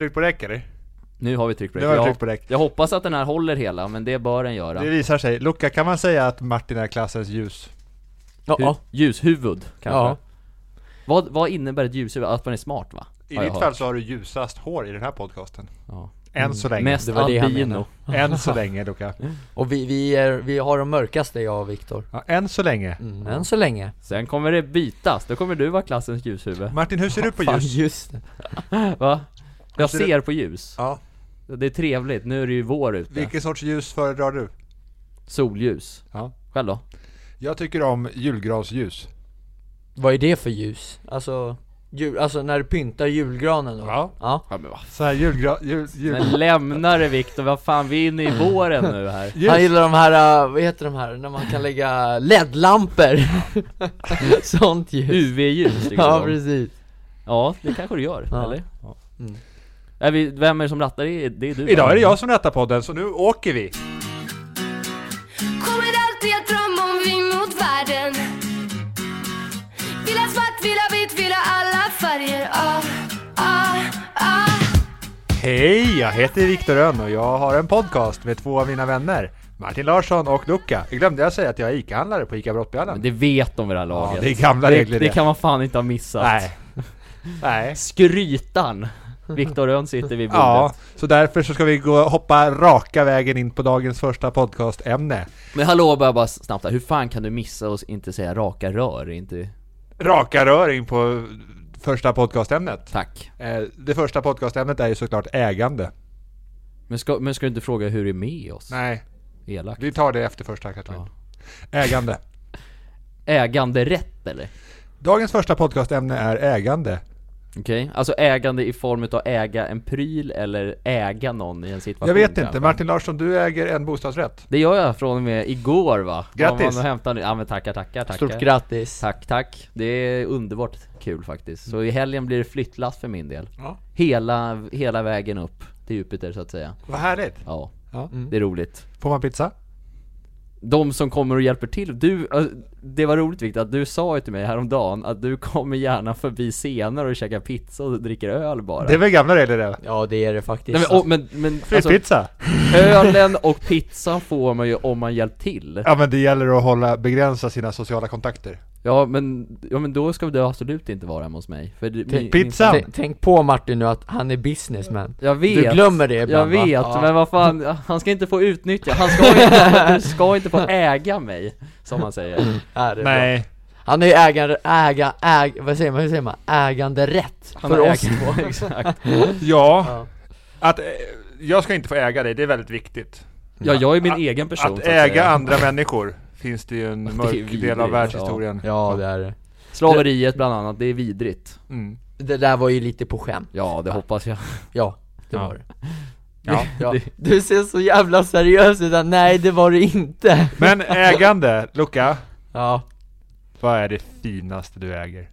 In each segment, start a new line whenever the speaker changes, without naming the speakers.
Tryck på räck eller?
Nu har vi tryckt på
Nu har vi
räck.
tryckt
Jag,
på räck.
jag hoppas att den här håller hela, men det bör den göra.
Det visar sig. Luca, kan man säga att Martin är klassens ljus?
Ja,
Hu- ljushuvud, kanske?
Ja.
Vad, vad innebär ett ljushuvud? Att man är smart va?
I
Har jag
ditt
hört.
fall så har du ljusast hår i den här podcasten.
Ja.
Än så länge.
Mest
det var det han
albino.
menade.
Än så länge Luca.
Och vi, vi, är, vi har de mörkaste jag och Viktor.
Ja, än så länge.
Mm. Än så länge.
Sen kommer det bytas, då kommer du vara klassens ljushuvud.
Martin, hur ser du på
Fan,
ljus?
just det.
Va? Jag
ser du-
ser på ljus.
Ja.
Det är trevligt, nu är det ju vår ute.
Vilken sorts ljus föredrar du?
Solljus.
Ja.
Själv då?
Jag tycker om julgransljus.
Vad är det för ljus? Alltså, jul, alltså när du pyntar julgranen då?
Ja.
Ja.
Ja, men, vad fan.
Så här julgra... Jul, jul,
men lämna det Viktor, vad fan vi är inne i våren nu här.
Han
ljus.
gillar de här, äh, vad heter de här, när man kan lägga LED-lampor Sånt ljus
UV-ljus liksom.
Ja precis
Ja, det kanske du gör,
Ja.
eller?
Mm.
Är vi, vem är det som rattar? Det är, det är du
Idag är det jag som rattar podden, så nu åker vi!
Kommer alltid att drömma om vi mot världen Vill ha svart, vill ha vitt, vill ha alla färger ah, ah, ah.
Hej, jag heter Viktor Önn och jag har en podcast med två av mina vänner. Martin Larsson och Luca. Jag glömde jag säga att jag är ICA-handlare på ICA
Men
Brottbjörnen.
det vet de vid det här laget.
Ja, det är gamla
det,
regler
det kan man fan inte ha missat.
Nej. Nej.
Skrytan! Viktor Rönn sitter vid bordet.
Ja, så därför så ska vi gå, hoppa raka vägen in på dagens första podcastämne.
Men hallå, bara, bara snabbt här. Hur fan kan du missa oss inte säga raka rör? Inte...
Raka rör in på första podcastämnet.
Tack.
Eh, Det första podcastämnet är ju såklart ägande.
Men ska, men ska du inte fråga hur det är med oss?
Nej,
Elakt.
vi tar det efter första Katrin. Ägande.
Äganderätt eller?
Dagens första podcastämne är ägande.
Okej, alltså ägande i form av äga en pryl eller äga någon i en situation
Jag vet
kanske.
inte, Martin Larsson du äger en bostadsrätt.
Det gör jag från och med igår va?
Grattis.
Var man och hämtade nu. Ja men tackar, tackar, tackar
Stort grattis
Tack, tack. Det är underbart kul faktiskt. Så i helgen blir det flyttlass för min del.
Ja.
Hela, hela vägen upp till Jupiter så att säga.
Vad härligt.
Ja,
Ja.
det är roligt.
Får man pizza?
De som kommer och hjälper till, du, äh, det var roligt Viktor att du sa ju till mig häromdagen att du kommer gärna förbi senare och käkar pizza och dricker öl bara.
Det är väl gamla regler det?
Ja det är det faktiskt
Nej, men, och, men, men
Fri
alltså,
pizza?
ölen och pizza får man ju om man hjälpt till.
Ja men det gäller att hålla, begränsa sina sociala kontakter.
Ja men, ja men då ska du absolut inte vara hemma hos mig. För det, min-
Pizza?
T- Alltså, Tänk på Martin nu att han är businessman
min- Jag vet.
Du glömmer det
Jag
ibland
vet,
va?
men vad fan, han ska inte få utnyttja, han ska inte, du ska inte få äga mig, som man säger.
Ja, det är bra.
Nej.
Han är ju ägande, äga, äg, vad säger man, hur säger man? Äganderätt
Han
för
har
oss
ägt-
två
Exakt.
Ja,
ja.
att eh, jag ska inte få äga dig, det är väldigt viktigt.
Ja, jag är min egen person
Att
så säga.
äga andra människor finns det ju en
är
mörk del av
vidrigt,
världshistorien.
ja det är det
Slaveriet bland annat, det är vidrigt.
Mm.
Det där var ju lite på skämt
Ja, det hoppas jag.
Ja, det
Ja.
var det
Ja.
Ja. Du ser så jävla seriös ut, nej det var det inte
Men ägande, Luca,
Ja,
vad är det finaste du äger?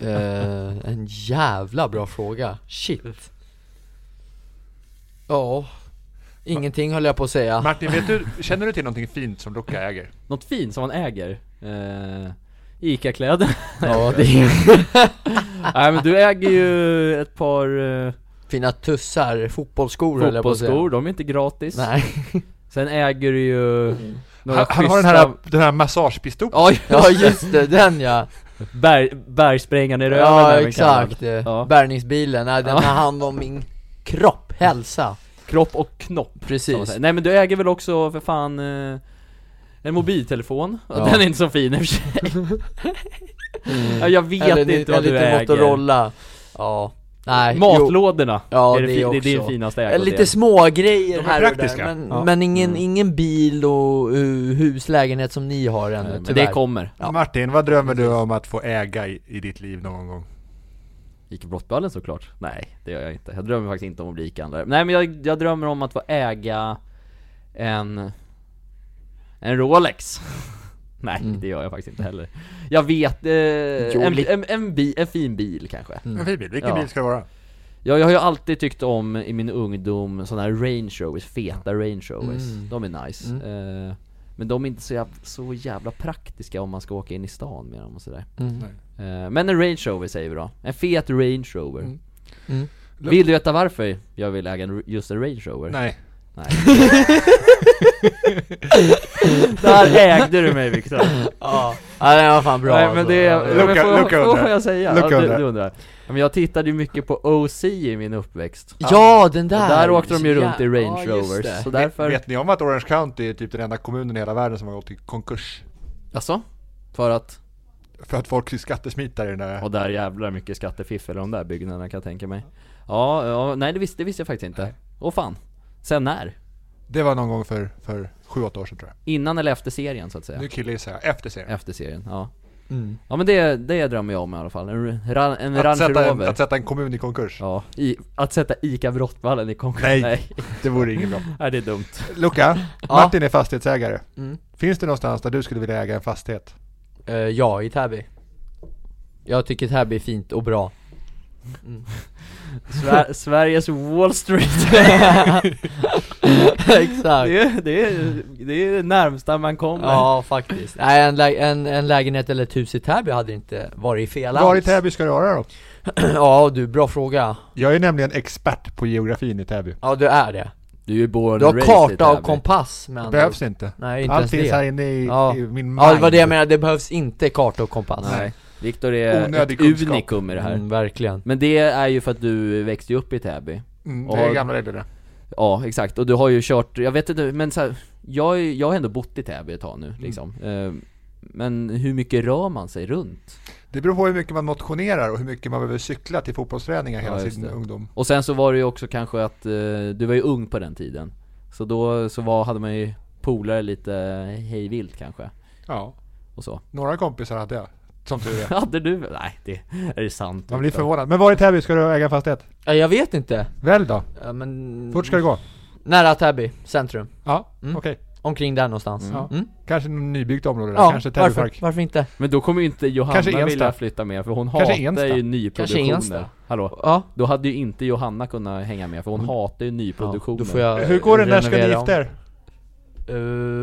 eh, en jävla bra fråga, shit Ja, ingenting höll jag på att
Ah.
säga
Martin, vet du, känner du till någonting fint som Luca äger?
Något fint som man äger? Eh, Ica-kläder?
Ja, det är
Nej men du äger ju ett par eh,
fina tussar, fotbollsskor höll jag på att säga
fotbollsskor, de är inte gratis.
Nej, Mm.
Sen äger du ju några
Han, han har den
schyssta-
här, den här massagepistolen.
Ja, just
ja just det, den ja!
berg, bergsprängaren i röven
Ja
är den kallad.
exakt, ja.
Ja.
bärgningsbilen, nej, den
Ja.
har hand om min kropp, hälsa
Kropp och knopp. Som man
Precis
säger. Nej men du äger väl också för fan eh, en mobiltelefon?
Ja.
Den är inte så fin i och för sig. Ja, Jag vet
Eller en
inte
liten-
vad du
en liten
äger.
Motorola Ja, nej, jo.
Matlådorna,
Ja,
är det,
det
fi- det är
också.
din finaste
Eh,
ägodel.
Lite smågrejer
De är
här
praktiska.
och där, men,
Ja. Mm.
men ingen, ingen bil och uh, hus, lägenhet som ni har ännu
Men det
tyvärr
kommer.
Ja.
Martin, vad drömmer du om att få äga i, i ditt liv någon gång?
Gick i brottballen såklart. Nej, det gör jag inte. Jag drömmer faktiskt inte om att bli Ica-handlare. Nej men jag, jag drömmer om att få äga en... En Rolex. Nej, det gör jag faktiskt inte heller. Jag vet, eh,
Mm. Jo,
en,
lite-
en, en, bi, en fin bil kanske.
En fin bil, vilken
Mm. Ja.
bil ska det vara?
Jag, jag har ju alltid tyckt om i min ungdom sådana här Range Rovers, feta Range Rovers.
Mm.
De är nice. Eh, Men de är inte så jävla, så jävla praktiska om man ska åka in i stan med dem och sådär
Mm.
Nej.
Eh, Men en Range Rover säger vi då, en fet Range Rover
Mm.
Mm.
Vill du veta varför jag vill äga en, just en Range Rover?
Nej.
Nej. Där ägde du mig Viktor!
Ja, ja den var fan bra
Nej men det, ja,
alltså.
men
Luca-
får,
Luca
får,
undrar.
får jag säga?
Luca
ja, du,
undrar.
du undrar. Ja, Men jag tittade ju mycket på OC i min uppväxt
Ja, den där!
Och där åkte de ju runt i
Ja,
Range
just
Rovers,
det.
så därför...
Vet ni om att Orange County är typ den enda kommunen i hela världen som har gått i konkurs?
Alltså? För att?
För att folk skattesmitar i den där...
Och där jävlar mycket skattefiffel i de där byggnaderna kan jag tänka mig Ja, ja nej det visste, det visste jag faktiskt inte Åh fan Sen när?
Det var någon gång för, för 7-8 år sedan tror jag.
Innan eller efter serien så att säga?
Nu killgissar jag, efter serien.
Efter serien, ja
Mm.
Ja men det, det drömmer jag om i alla fall, en, ra- en
Att
Range
sätta, en,
Rover
att sätta en kommun i konkurs,
Ja, i, att sätta ICA Brottballen i konkurs
Nej.
Nej,
det vore inget bra.
Nej, det är dumt
Luca, Martin är fastighetsägare.
Mm.
Finns det någonstans där du skulle vilja äga en fastighet?
Eh, ja, i Täby Jag tycker Täby är fint och bra
Sver- Sveriges Wall Street
Exakt
det, är, det, är, det är det närmsta man kommer
Ja faktiskt, nej en, lä- en, en lägenhet eller ett hus i Täby hade inte varit fel
Var i
alls.
Täby ska du vara då?
Ja du, bra fråga
Jag är nämligen expert på geografin i Täby.
Ja du är det
Du är ju born
Du
and
har
raised i
karta
Täby.
och kompass med andra
Behövs
ord.
inte.
Nej inte
Allt
Allt
finns
ens
här
det
inne i,
Ja.
i min mind.
Ja det var det jag menade, det behövs inte karta och kompass
Nej, Viktor är
Onödig
ett
kunskap.
unikum i det här
Mm, verkligen
Men det är ju för att du växte ju upp i Täby
Mm, det är
Och-
gamla regler det.
Ja, exakt, och du har ju kört, jag vet inte, men så här, jag, är- jag har ändå bott i Täby ett tag nu
Mm.
liksom Eh, Men hur mycket rör man sig runt?
Det beror på hur mycket man motionerar och hur mycket man behöver cykla till fotbollsträningar hela
Ja, just
sin
det.
ungdom.
Och sen så var det ju också kanske att, eh, du var ju ung på den tiden Så då så var, hade man ju polare lite hejvilt kanske,
Ja.
och så
Några kompisar hade jag, som tur är.
Hade du? Nej, det är det sant
Man blir förvånad. Men var i Täby ska du äga en fastighet?
Ja, Jag vet inte,
Väl då?
Ja, men...
Fort ska det gå?
Nära Täby, centrum,
Ja,
Mm.
okej.
omkring där någonstans
Mm.
Ja.
Mm.
Kanske något nybyggt område där.
Ja,
Kanske Täby
varför,
park.
varför inte?
Men då kommer ju inte
Kanske
Johanna
Ensta.
vilja flytta med för hon
Kanske
hatar
Ensta.
ju
Ensta.
nyproduktioner Hallå?
Ja,
Då hade ju inte Johanna kunnat hänga med för
Mm.
hon hatar ju nyproduktioner
då får jag
Hur går det? När ska ni
renovera om.
gifta er?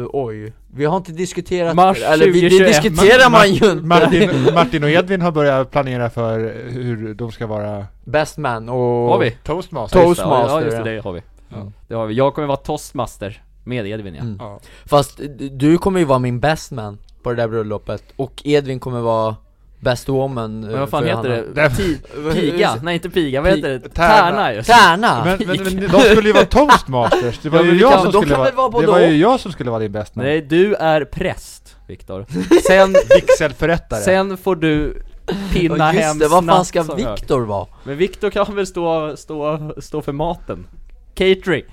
Eh, oj, vi har inte diskuterat
Mars
Eller vi, det
2021.
diskuterar man ju inte!
Martin, Martin och Edvin har börjat planera för hur de ska vara
Best man och...
Har vi?
toastmaster.
To-
Ja, just det.
Toastmaster,
Ja just
ja.
det, det har vi
Ja.
Det har vi, jag kommer vara toastmaster Med Edvin ja
Mm.
Ja.
Fast d- du kommer ju vara min best man på det där bröllopet Och Edvin kommer vara best woman eh,
Men vad fan heter det?
Det-
Ti- piga? Nej inte piga, vad
Pi-
heter det?
tärna.
Tärna just
Tärna!
Men, men, men de skulle ju vara toastmasters, det var
Ja, men
ju
vi
jag
kan-
som
de
skulle
kan
vara,
väl vara
det
både
var ju
och.
jag som skulle vara din bästa
Nej du är präst Viktor
sen vigselförrättare
Sen får du pinna
Ja,
hem
just det, vad fan
snabbt
ska
som jag.
Viktor vara?
Men Viktor kan väl stå, stå, stå för maten? Catering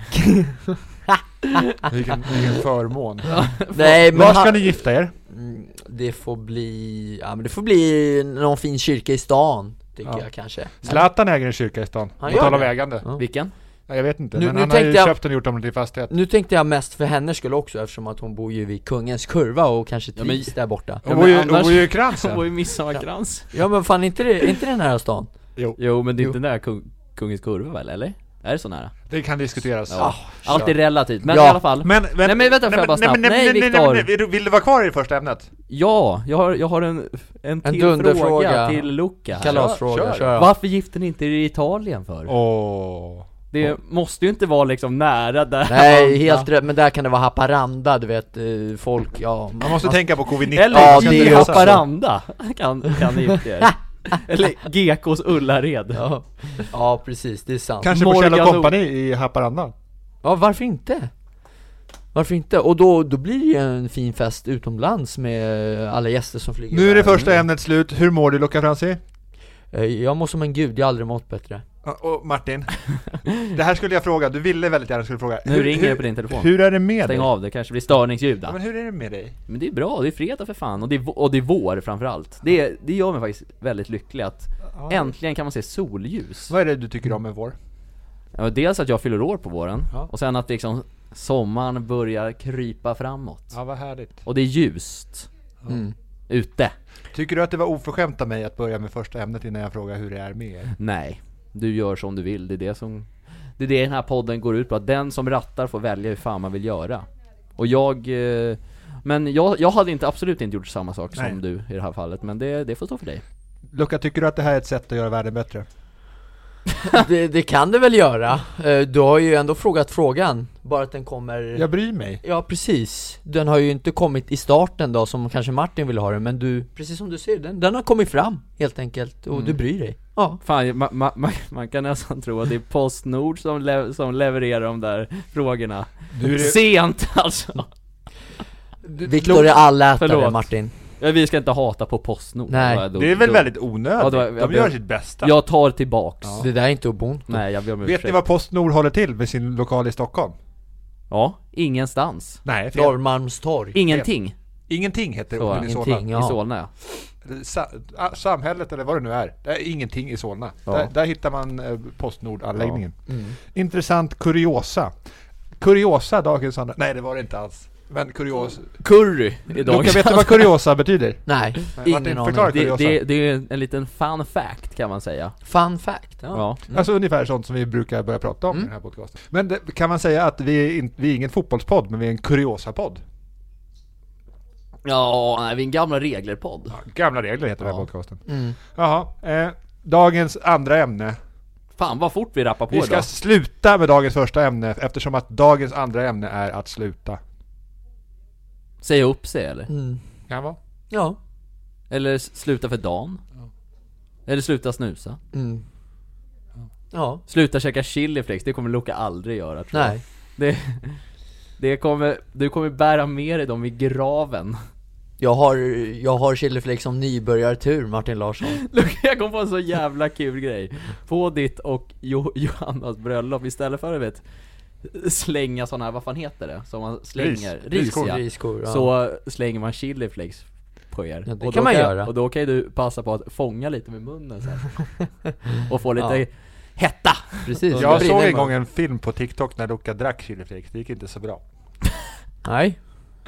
vilken, vilken förmån
Nej
Var
men
ska
han,
ni gifta er?
Mm, det får bli, ja men det får bli någon fin kyrka i stan Tycker
Ja.
jag kanske
Zlatan äger en kyrka i stan,
Han
på
gör
tal om
det.
ägande
Ja.
Vilken?
Nej, Jag vet inte,
Nu-
men
nu
han har ju
tänkte jag-
köpt den och gjort om till fastighet
Nu tänkte jag mest för hennes skull också eftersom att hon bor ju vid Kungens Kurva och kanske
Ja, men-
trivs där borta
Hon bor ju- hon
annars-
bor ju i
Som
Kransen
var ju midsommarkrans
Ja men fan inte det, inte den här stan?
Jo men det är
Jo.
inte nära kung, Kungens Kurva väl, eller? Är det så nära?
Det kan diskuteras
Ja. Allt är relativt, men
Ja.
i alla fall
Men, vänt-
Nej, men vänta, får jag bara snabbt? Nej, Viktor.
nej, nej, Vill du vara kvar i det första ämnet?
Ja, jag har, jag har en, en till
dunderfråga.
fråga till Luca här.
Kalasfråga,
kör.
kör, kör.
Varför gifte ni inte er i Italien för?
Åh
Det måste ju inte vara liksom nära där
Nej helt rätt, men där kan det vara Haparanda du vet, eh, folk, ja
Man måste tänka på covid-19
Eller liksom,
Ja,
ja,
det är
i
ju också-
Haparanda kan, kan ni gifta er Eller Gekås Ullared
ja. ja precis, det är sant
Kanske på Kjell
Morgan
och
och-
Company i Haparanda
Ja varför inte? Varför inte? Och då, då blir det ju en fin fest utomlands med alla gäster som flyger
Nu är det
iväg.
första ämnet slut, hur mår du Luca Franzi?
Eh, Jag mår som en gud, jag har aldrig mått bättre
Ja, Och Martin, det här skulle jag fråga, du ville väldigt gärna skulle fråga
Nu
Hur-
ringer
hur-
det på din telefon
Hur är det med
Stäng
dig?
av, det kanske blir störningsljud
Ja,
där.
men hur är det med dig?
Men det är bra, det är fredag för fan och det är, vå- och det är vår framförallt det, är- det gör mig faktiskt väldigt lycklig att äntligen kan man se solljus
Vad är det du tycker om med vår?
ja, Dels att jag fyller år på våren
Ja.
och sen att liksom sommaren börjar krypa framåt
Ja, vad härligt.
Och det är ljust
mm.
ute
Tycker du att det var oförskämt av mig att börja med första ämnet innan jag frågar hur det är med er?
Nej, du gör som du vill, det är det som Det är det den här podden går ut på, att den som rattar får välja hur fan man vill göra Och jag eh, Men jag, jag hade inte, absolut inte gjort samma sak
Nej.
som du i det här fallet, men det, det får stå för dig
Luca, tycker du att det här är ett sätt att göra världen bättre?
det, det kan det väl göra. Eh, Du har ju ändå frågat frågan, bara att den kommer
Jag bryr mig.
Ja precis, den har ju inte kommit i starten då som kanske Martin vill ha den men du, precis som du säger, den, den har kommit fram helt enkelt och
Mm.
du bryr dig Ja
Fan, ma, ma, ma, man kan nästan tro att det är Postnord som, le, som levererar de där frågorna
Du är det-
Sent alltså!
Viktor är allätare
Förlåt.
Martin
Ja, Vi ska inte hata på Postnord
Nej.
Vad då-
Det är väl
då-
väldigt onödigt?
Ja, det var- jag
De gör
ber-
sitt bästa.
Jag tar tillbaks
Ja.
Det där är inte ubuntu
Nej jag ber om
Vet
ursäkt
ni vad Postnord håller till med sin lokal i Stockholm?
Ja, ingenstans
Nej, fel.
Norrmalmstorg
Ingenting
Ingenting heter
Så,
orten i Solna.
Ingenting,
i
ja
Solna ja.
Eller Sa- ah, samhället eller vad det nu är. Det är ingenting i Solna.
Ja. Mm.
Där, där hittar man eh, Postnord-anläggningen. Intressant kuriosa. Kuriosa, dagens andra... Nej, det var det inte alls. Men kuriosa...
Curry idag
Luca, vet du vad kuriosa betyder?
Nej,
Martin,
ingen aning
förklara.
det,
Curiosa?
det, det är ju en liten fun fact kan man säga
Fun fact, ja,
Ja,
Alltså ungefär sånt som vi brukar börja prata
Mm.
om i den här podcasten. Men det, kan man säga att vi är, in, vi är ingen fotbollspodd, men vi är en kuriosa-podd?
ja nej, vi är en gamla regler-podd
Gamla regler heter den här
Ja.
podcasten.
Mm.
Jaha, eh, dagens andra ämne.
Fan vad fort vi rappar på
Vi ska
idag
sluta med dagens första ämne eftersom att dagens andra ämne är att sluta.
Säga upp sig eller?
Mm.
Kan vara.
Ja,
Eller s- sluta för dagen? Eller sluta snusa?
mm. ja,
Sluta käka chiliflex, det kommer Luca aldrig göra tror jag.
nej
Det, det kommer, du kommer bära med dig dem i graven
jag har, jag har chiliflakes som nybörjartur Martin Larsson
Luca, jag kom på en så jävla kul grej På ditt och jo, Johannas bröllop, istället för att vet, slänga såna här, vad fan heter det? Som man slänger,
Ris.
ris,
Riskor.
ja.
Friskor, ja.
Så slänger man chiliflex på er
Ja, det
Och
kan
då
man göra.
Och då kan ju du passa på att fånga lite med munnen så här. Och få lite
Ja.
hetta!
precis
Jag såg
Då brinner
en
man.
gång en film på TikTok när Luca drack chiliflakes, det gick inte så bra.
Nej,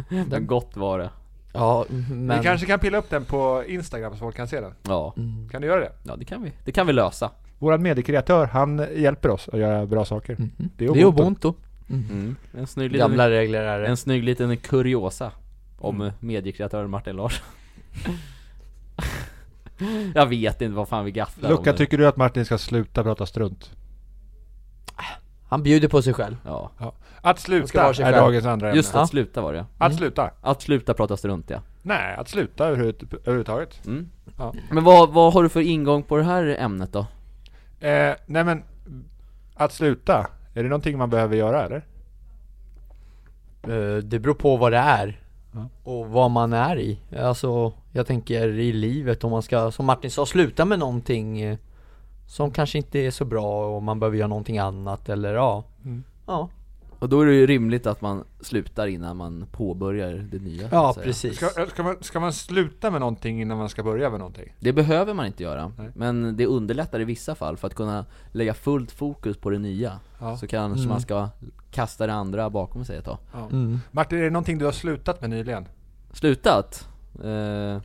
Men gott var det
ja men
Vi kanske kan pilla upp den på Instagram så folk kan se den.
Ja,
Mm.
Kan du göra det?
ja det kan vi, det kan vi lösa
Våran mediekreatör, han hjälper oss att göra bra saker. Det
Mhm. Det är ubuntu
En snygg liten,
Gamla regler är det
en snygg liten kuriosa Om mediekreatören Martin Larsson Jag vet inte vad fan vi gafflar om
Luca,
nu.
tycker du att Martin ska sluta prata strunt?
Han bjuder på sig själv
Ja,
Att
ska vara
sluta
sig
är
själv. Mm.
dagens andra ämne.
just
Ja.
att sluta var det
Att sluta?
Att sluta prata strunt ja
Nej, att sluta överhuvud- överhuvudtaget.
mm.
Ja.
Men vad, vad har du för ingång på det här ämnet då?
Eh, nej men, att sluta, är det någonting man behöver göra eller?
Eh, Det beror på vad det är och vad man är i. Alltså, jag tänker i livet om man ska, som Martin sa, sluta med någonting eh, som kanske inte är så bra och man behöver göra någonting annat eller ja. Ja,
Och då är det ju rimligt att man slutar innan man påbörjar det nya så
ja
att säga.
precis.
Ska, eh, ska, man, ska man sluta med någonting innan man ska börja med någonting?
Det behöver man inte göra,
Nej.
men det underlättar i vissa fall för att kunna lägga fullt fokus på det nya
Ja.
Så kanske man ska kasta det andra bakom sig ett tag
Ja.
Mm.
Martin, är det någonting du har slutat med nyligen?
Slutat? Eh,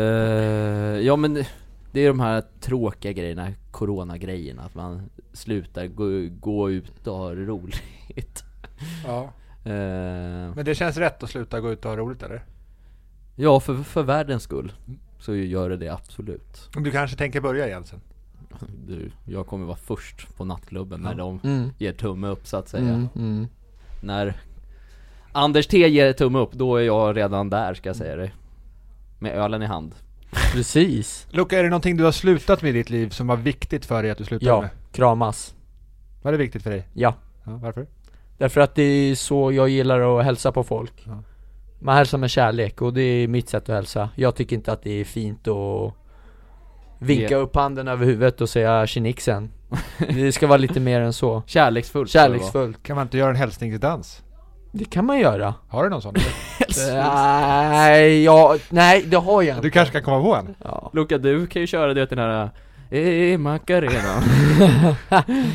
eh, ja men det är de här tråkiga grejerna, coronagrejerna, att man slutar gå, gå ut och ha det roligt
Ja.
eh,
Men det känns rätt att sluta gå ut och ha roligt eller?
Ja, för, för världens skull så gör det det absolut
Du kanske tänker börja igen sen?
du, Jag kommer vara först på nattklubben när de
Mm.
ger tumme upp så att säga
Mm, mm.
När Anders T ger tumme upp, då är jag redan där ska jag säga dig Med ölen i hand
Precis.
Luca, är det någonting du har slutat med i ditt liv som var viktigt för dig att du slutade
Ja,
med?
kramas.
Vad är viktigt för dig?
Ja.
Ja, varför?
Därför att det är så jag gillar att hälsa på folk
Ja.
Man hälsar med kärlek och det är mitt sätt att hälsa Jag tycker inte att det är fint att vinka
Ge-
upp handen över huvudet och säga tjenixen Det ska vara lite mer än så
Kärleksfullt ska det vara.
Kärleksfullt,
Kan man inte göra en hälsningsdans?
det kan man göra
Har du någon sån? eller?
Nej, ja, nej det har jag
Du
inte
kanske kan komma på en?
ja.
Luca du kan ju köra du vet den här Ey Macarena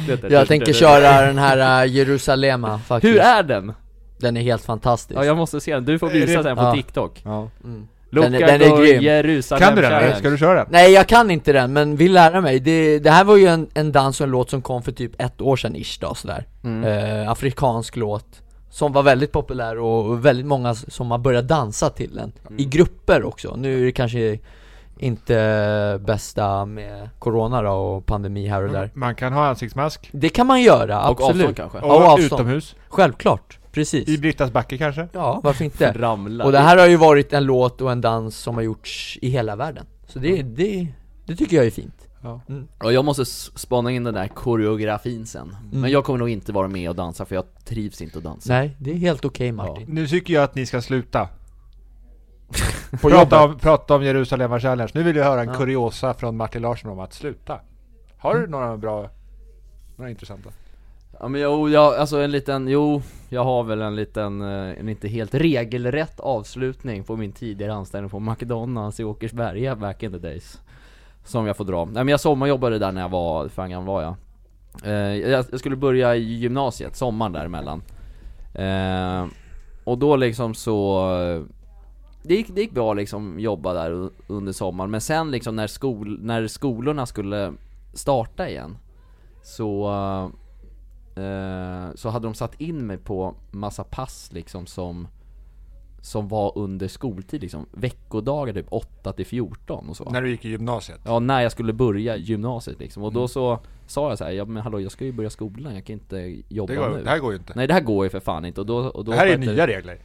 Du vet det.
Jag tänker köra den här eh, Jerusalema faktiskt
Hur är den?
Den är helt fantastisk
Ja jag måste se den, du får visa den på
Ja.
TikTok
Ja.
Luca
Den är- den är
går
grym.
Jerusalem
Kan du den? eller?
Challenge.
Ska du köra den?
Nej jag kan inte den, men vill lära mig. Det, det här var ju
Mm.
en, en dans och en låt som kom för typ ett år sedan ish då sådär. Eh, afrikansk låt. Som var väldigt populär och väldigt många s- som har börjat dansa till den
Mm.
I grupper också, nu är det kanske inte bästa med Corona då och pandemi här och där
Man kan ha ansiktsmask.
Det kan man göra,
Mm. Och avstånd
absolut
kanske?
Och,
Ja, avstånd.
utomhus.
Självklart, precis
I Brittas backe kanske.
Ja, varför inte?
Ramla
Och det här har ju varit en låt och en dans som har gjorts i hela världen Så det,
Mm.
det, det tycker jag är fint
Ja, jag måste s- spana in den där koreografin sen
Mm.
Men jag kommer nog inte vara med och dansa för jag trivs inte att dansa
Nej, det är helt okej Martin
Nu tycker jag att ni ska sluta.
På
prata,
jobbet.
om, prata om Jerusalem Challenge. Nu vill jag höra en kuriosa från Martin Larsson om att sluta. Har
Mm.
du några bra, några intressanta?
Ja men jo, jag, alltså en liten, jo, jag har väl en liten, eh, en inte helt regelrätt avslutning på min tidigare anställning på McDonalds i Åkersberga back in the days Som jag får dra. Nej men jag sommarjobbade där när jag var, hur fan gammal var jag? Eh, jag, jag skulle börja i gymnasiet, sommaren däremellan eh, Och då liksom så eh, det gick, det gick bra liksom jobba där u- under sommaren, men sen liksom när, skol, när skolorna skulle starta igen Så eh, Eh, så hade de satt in mig på massa pass liksom som som var under skoltid liksom, veckodagar typ 8 till 14 och så.
När du gick i gymnasiet?
Ja, när jag skulle börja gymnasiet liksom. Och
Mm.
då så sa jag så här, ja men hallå jag ska ju börja skolan, jag kan inte jobba
Det, går,
nu.
det här går ju inte.
Nej det här går ju för fan inte. Och då, och då
det här är
sköter-
nya regler.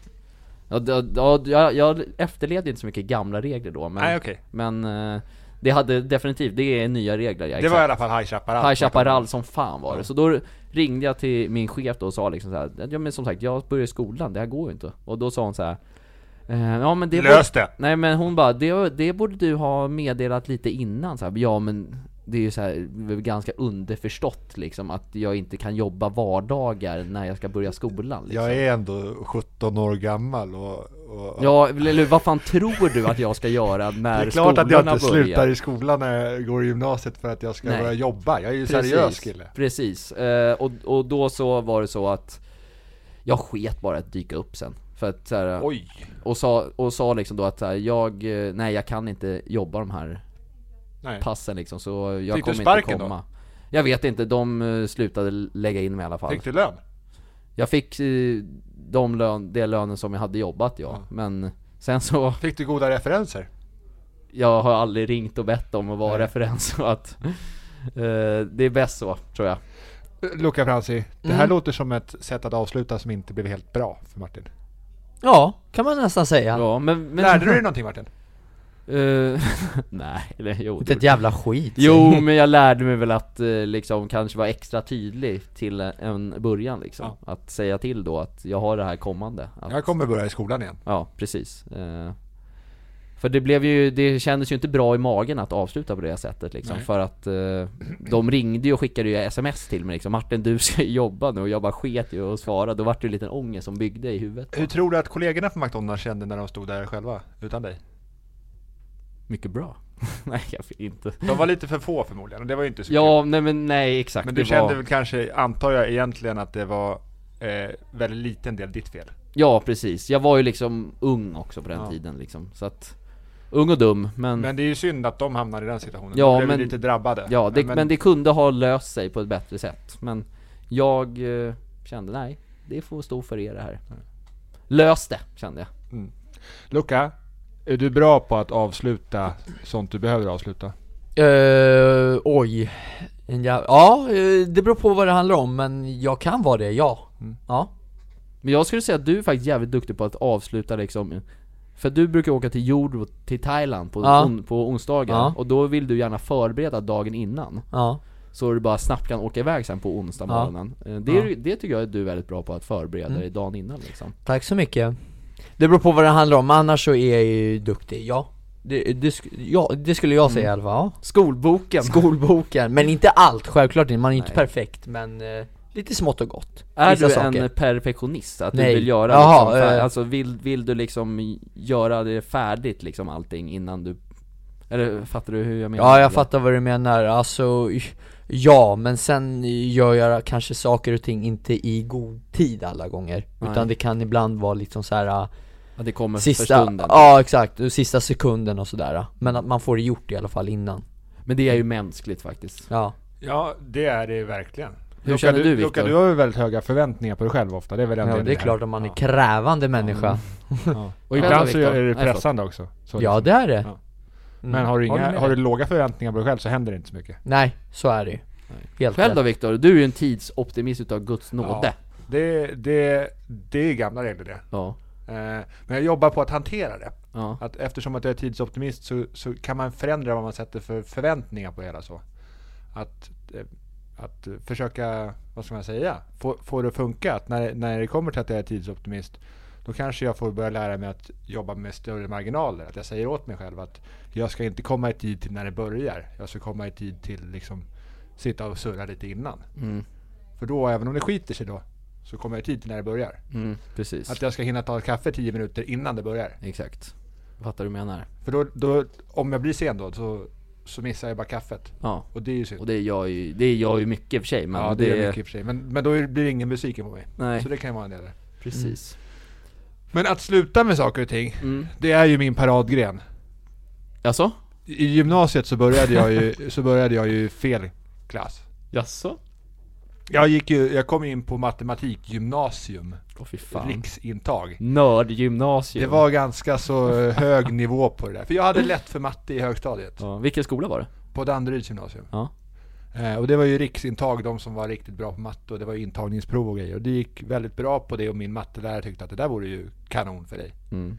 Ja, d- ja, d- jag, jag efterlevde inte så mycket gamla regler då men,
Nej, okej.
men eh, det hade definitivt, det är nya regler ja,
Det var i
exakt.
alla fall High Chaparral.
High Chaparral som fan var det. Så då ringde jag till min chef då och sa liksom så här, ja men som sagt jag börjar i skolan, det här går ju inte. Och då sa hon så här, "Eh, ja men det borde-
Lös det!
Nej men hon bara, det, det borde du ha meddelat lite innan så här, ja men det är ju så här, ganska underförstått liksom att jag inte kan jobba vardagar när jag ska börja skolan liksom.
Jag är ändå 17 år gammal och... och
Ja, eller vad fan tror du att jag ska göra
det
när
är klart att jag
skolorna
inte
börjar?
slutar i skolan när jag går i gymnasiet för att jag ska
Nej.
börja jobba. Jag är ju seriös kille.
Precis, eh, och, och då så var det så att jag sket bara att dyka upp sen. För att så här,
Oj!
och, sa, och sa liksom då att så här, jag, eh, nej jag kan inte jobba de här
Nej.
passen liksom så jag
Fick du
kommer
sparken
inte
då?
komma. Jag vet inte, de eh, slutade lägga in mig i alla fall.
Fick du lön?
Jag fick eh, de lön, det lönen som jag hade jobbat ja, men sen så,
Fick du goda referenser?
jag har aldrig ringt och bett om att vara referens så att eh, det är bäst så, tror jag.
Luca Franzi, det här låter som ett sätt att avsluta som inte blev helt bra för Martin.
Ja, kan man nästan säga
Ja, men, men
Lärde du dig någonting Martin?
Eh, nej, eller jo.
Inte ett jävla skit
Jo, men jag lärde mig väl att eh, liksom kanske vara extra tydlig till en början liksom. Att säga till då att jag har det här kommande. Att,
Jag kommer börja i skolan igen.
Ja, precis. Eh, för det blev ju, det kändes ju inte bra i magen att avsluta på det här sättet liksom. För att eh, de ringde ju och skickade ju sms till mig liksom. Martin du ska ju jobba nu och jag bara sket ju och svarade. Då vart det ju en liten ångest som byggde i huvudet.
Hur tror du att kollegorna på McDonalds kände när de stod där själva, utan dig?
Mycket bra. nej, jag vet inte.
De var lite för få förmodligen, och det var ju inte så kul.
Ja, nej men nej exakt.
Men du
det
kände
var...
väl kanske, antar jag egentligen, att det var eh, väldigt liten del ditt fel?
Ja precis, jag var ju liksom ung också på den tiden liksom, så att Ung och dum, men,
Men det är ju synd att de hamnar i den situationen,
Ja,
de blev
men-
ju lite drabbade.
ja, det, men...
men
det kunde ha löst sig på ett bättre sätt Men jag eh, kände, nej, det får stå för er det här Lös det, kände jag
Luca, är du bra på att avsluta sånt du behöver avsluta?
Eh, oj. En jä- ja, eh, det beror på vad det handlar om, men jag kan vara det, ja. Ja.
Men jag skulle säga att du är faktiskt jävligt duktig på att avsluta liksom För du brukar åka till jord och till Thailand på,
Ja.
on, på onsdagar
Ja.
och då vill du gärna förbereda dagen innan
Ja.
Så du bara snabbt kan åka iväg sen på onsdag
Ja. Mm.
morgonen Eh, det, är- det tycker jag att du är väldigt bra på att förbereda dig dagen innan liksom
Tack så mycket. Det beror på vad det handlar om, annars så är jag ju duktig, ja. Det, det, sk- ja, det skulle jag säga i alla fall, Mm. ja.
Skolboken!
Skolboken, men inte allt, självklart inte. Man är ju inte
Nej.
perfekt, men eh, lite smått och gott.
är
Vissa
du
saker.
en perfektionist? Att
Nej.
du vill göra
Jaha,
liksom, fär-
eh.
alltså vill, vill du liksom göra det färdigt liksom allting innan du Eller fattar du hur jag menar?
Ja, jag fattar vad du menar. Alltså, ja, men sen gör jag kanske saker och ting inte i god tid alla gånger.
Nej.
Utan det kan ibland vara liksom så här. eh,
Att det kommer för
Sista,
stunden
ja exakt, och sista sekunden och sådär Men att man får det gjort i alla fall innan
Men det är ju mänskligt faktiskt
Ja,
Ja, det är det verkligen.
Hur känner du
Luca,
Viktor?
du har ju väldigt höga förväntningar på dig själv ofta, det är väl
Ja,
en del
det är
här.
klart om man är krävande människa.
Ja. Och
Själv då,
ibland så
Viktor?
är det
Nej, förlåt.
pressande också. Så
Ja, det är det. Mm.
Ja. Men har du,
Håller
inga,
med
har du
dig.
låga förväntningar på dig själv så händer det inte så mycket.
Nej, så är det ju. Helt
Själv då
rätt.
Viktor? Du är ju en tidsoptimist utav Guds nåde.
Det, det, det är gamla regler det.
Ja.
Eh, Men jag jobbar på att hantera det.
Ja.
Att eftersom att jag är tidsoptimist så, så kan man förändra vad man sätter för förväntningar på det hela så. Att, eh, att eh, försöka, vad ska man säga, få, få det att funka. Att när, när det kommer till att jag är tidsoptimist då kanske jag får börja lära mig att jobba med större marginaler. Att jag säger åt mig själv att jag ska inte komma i tid till när det börjar. Jag ska komma i tid till liksom sitta och surra lite innan.
Mm.
För då, även om det skiter sig då, så kommer jag i tid till när det börjar.
Mm. Precis.
Att jag ska hinna ta ett kaffe 10 minuter innan det börjar.
Exakt. Fattar du vad jag menar?
För då, då om jag blir sen då så, så missar jag bara kaffet.
Ja.
Och det är ju synd.
Och det gör ju, det gör ju mycket i och för sig men
ja, det, är mycket i och för sig. Men, men då är- blir ingen besviken på mig.
Nej,
Så det kan ju vara en del. där.
precis.
Men att sluta med saker och ting,
Mm.
det är ju min paradgren.
Jaså?
I gymnasiet så började jag ju, så började jag ju fel klass.
Jaså?
Jag, gick ju, jag kom in på matematikgymnasium,
Åh fy fan.
riksintag.
Nördgymnasium.
Det var ganska så hög nivå på det där. För jag hade lätt för matte i högstadiet.
Ja. Vilken skola var det?
På Danderyds gymnasium.
Ja.
Eh, och det var ju riksintag, de som var riktigt bra på matte och det var ju intagningsprov och grejer. Och det gick väldigt bra på det och min mattelärare tyckte att det där vore ju kanon för dig.
Mm.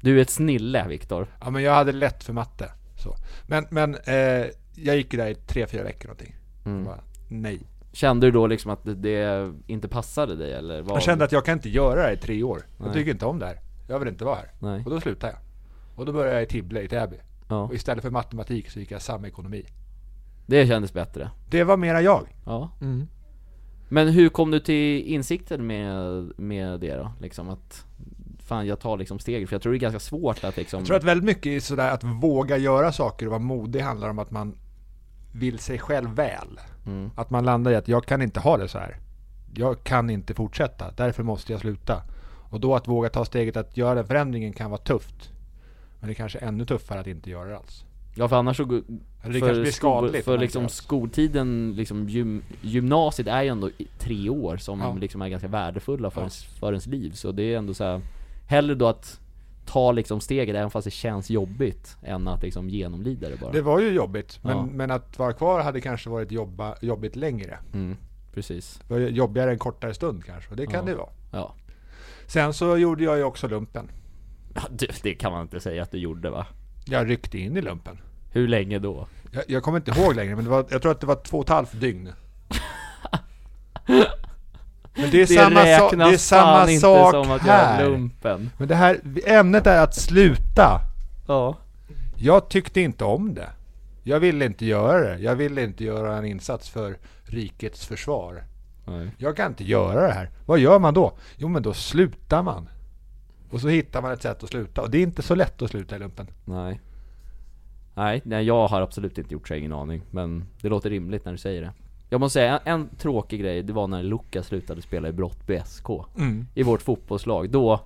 Du är ett snille Viktor.
Ja men jag hade lätt för matte. Så. Men, men eh, jag gick ju där i tre, fyra veckor någonting.
Mm.
Bara, nej.
Kände du då liksom att det- det inte passade dig eller? Vad?
Jag kände att jag kan inte göra det här i tre år.
Nej.
Jag tycker inte om det här. Jag vill inte vara här.
Nej,
Och då slutade jag. Och då började jag i Tibble i Täby.
ja.
Och istället för matematik så gick jag samekonomi.
Det kändes bättre.
Det var mera jag.
Ja.
Mm.
Men hur kom du till insikten med, med det då? Liksom att, fan jag tar liksom steget, för jag tror det är ganska svårt att liksom
Jag tror att väldigt mycket är sådär att våga göra saker och vara modig handlar om att man vill sig själv väl.
Mm.
Att man landar i att jag kan inte ha det så här. Jag kan inte fortsätta, därför måste jag sluta. Och då att våga ta steget att göra den förändringen kan vara tufft. Men det är kanske ännu tuffare att inte göra det alls.
Ja för annars så, gu-
Eller det
för,
kanske blir
sko-
skadligt.
för
men
liksom
inte alls.
skoltiden, liksom gym, gymnasiet är ju ändå i- tre år som
Ja.
liksom är ganska värdefulla för,
Ja.
ens, för ens liv, så det är ändå så här, hellre då att ta liksom steget även fast det känns jobbigt, än att liksom genomlida det bara
Det var ju jobbigt, men,
Ja.
men att vara kvar hade kanske varit jobba, jobbigt längre.
mm, Precis,
Det var ju jobbigare en kortare stund kanske, och det kan
Ja.
det vara.
ja
Sen så gjorde jag ju också lumpen.
Ja, det, det kan man inte säga att du gjorde va?
Jag ryckte in i lumpen.
Hur länge då?
Jag, jag kommer inte ihåg längre, men det var, jag tror att det var två och ett halvt dygn. Men det är samma, so- det är samma
fan inte
sak
som att
här.
göra lumpen
Men det här, ämnet är att sluta.
Ja
Jag tyckte inte om det. Jag ville inte göra det. Jag ville inte göra en insats för rikets försvar.
Nej.
Jag kan inte göra det här. Vad gör man då? Jo, men då slutar man. Och så hittar man ett sätt att sluta. Och det är inte så lätt att sluta i lumpen.
Nej Nej, nej jag har absolut inte gjort så, jag har ingen aning Men det låter rimligt när du säger det Jag måste säga, en, en tråkig grej, det var när Luca slutade spela i Brottby SK I vårt fotbollslag, då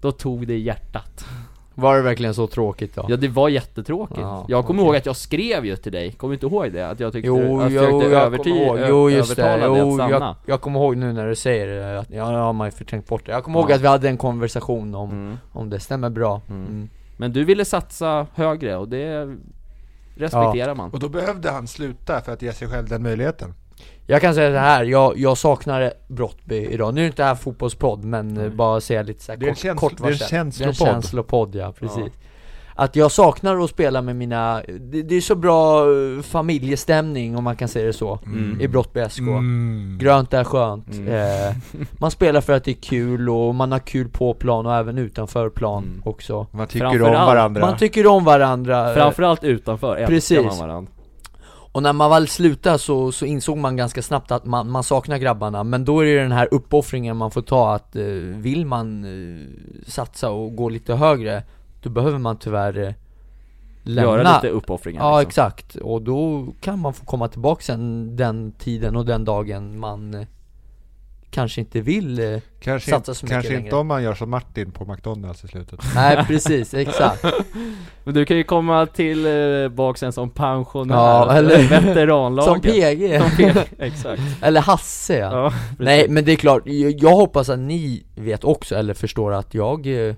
Då tog det i hjärtat
Var det verkligen så tråkigt då?
Ja det var jättetråkigt
Ja,
Jag kommer
okej.
ihåg att jag skrev ju till dig, kommer du inte ihåg det? Att jag tyckte
Jo,
att
jo,
försökte
jag
överty-
kommer ihåg.
ö-
Jo, just det.
övertala dig att
Jo,
stanna
jag, jag kommer ihåg nu när du säger det, att, ja, nu har man ju förträngt bort det. Jag kommer
Ja.
ihåg att vi hade en konversation om,
Mm.
om det, stämmer bra.
Mm.
Mm.
Men du ville satsa högre och det respekterar man
Och då behövde han sluta för att ge sig själv den möjligheten.
Jag kan säga så här, jag, jag saknar Brottby idag. Nu är det inte det här fotbollspodd, men eh, bara säga lite så här
Det är en
kort,
käns-
kort
det är en
varsel.
känslopodd.
Det är en känslopodd, ja precis. Att jag saknar att spela med mina, det, det är så bra eh, familjestämning om man kan säga det så,
Mm.
i Brottby SK.
Mm.
Grönt är skönt.
Mm.
Eh, man spelar för att det är kul och man har kul på plan och även utanför plan
Mm.
också.
Man tycker om
Framförallt-
varandra.
Man tycker om varandra. eh,
Framförallt utanför älskar
Precis.
man varandra
Och när man väl slutade så, så insåg man ganska snabbt att man, man saknar grabbarna Men då är det ju den här uppoffringen man får ta att eh, vill man eh, satsa och gå lite högre Då behöver man tyvärr eh, lämna
Göra lite uppoffringar
Ja
liksom.
exakt, och då kan man få komma tillbaka sen den tiden och den dagen man eh, kanske inte vill eh,
Kanske,
Satsa
in,
så mycket
kanske
längre.
inte om man gör som Martin på McDonalds i slutet.
Nej precis, exakt
Men du kan ju komma till eh, bak sen som pensionär,
Ja, eller-
eller veteranlaget
Som PG,
Som PG, exakt
eller Hasse ja.
ja.
Nej men det är klart, jag, jag hoppas att ni vet också eller förstår att jag eh,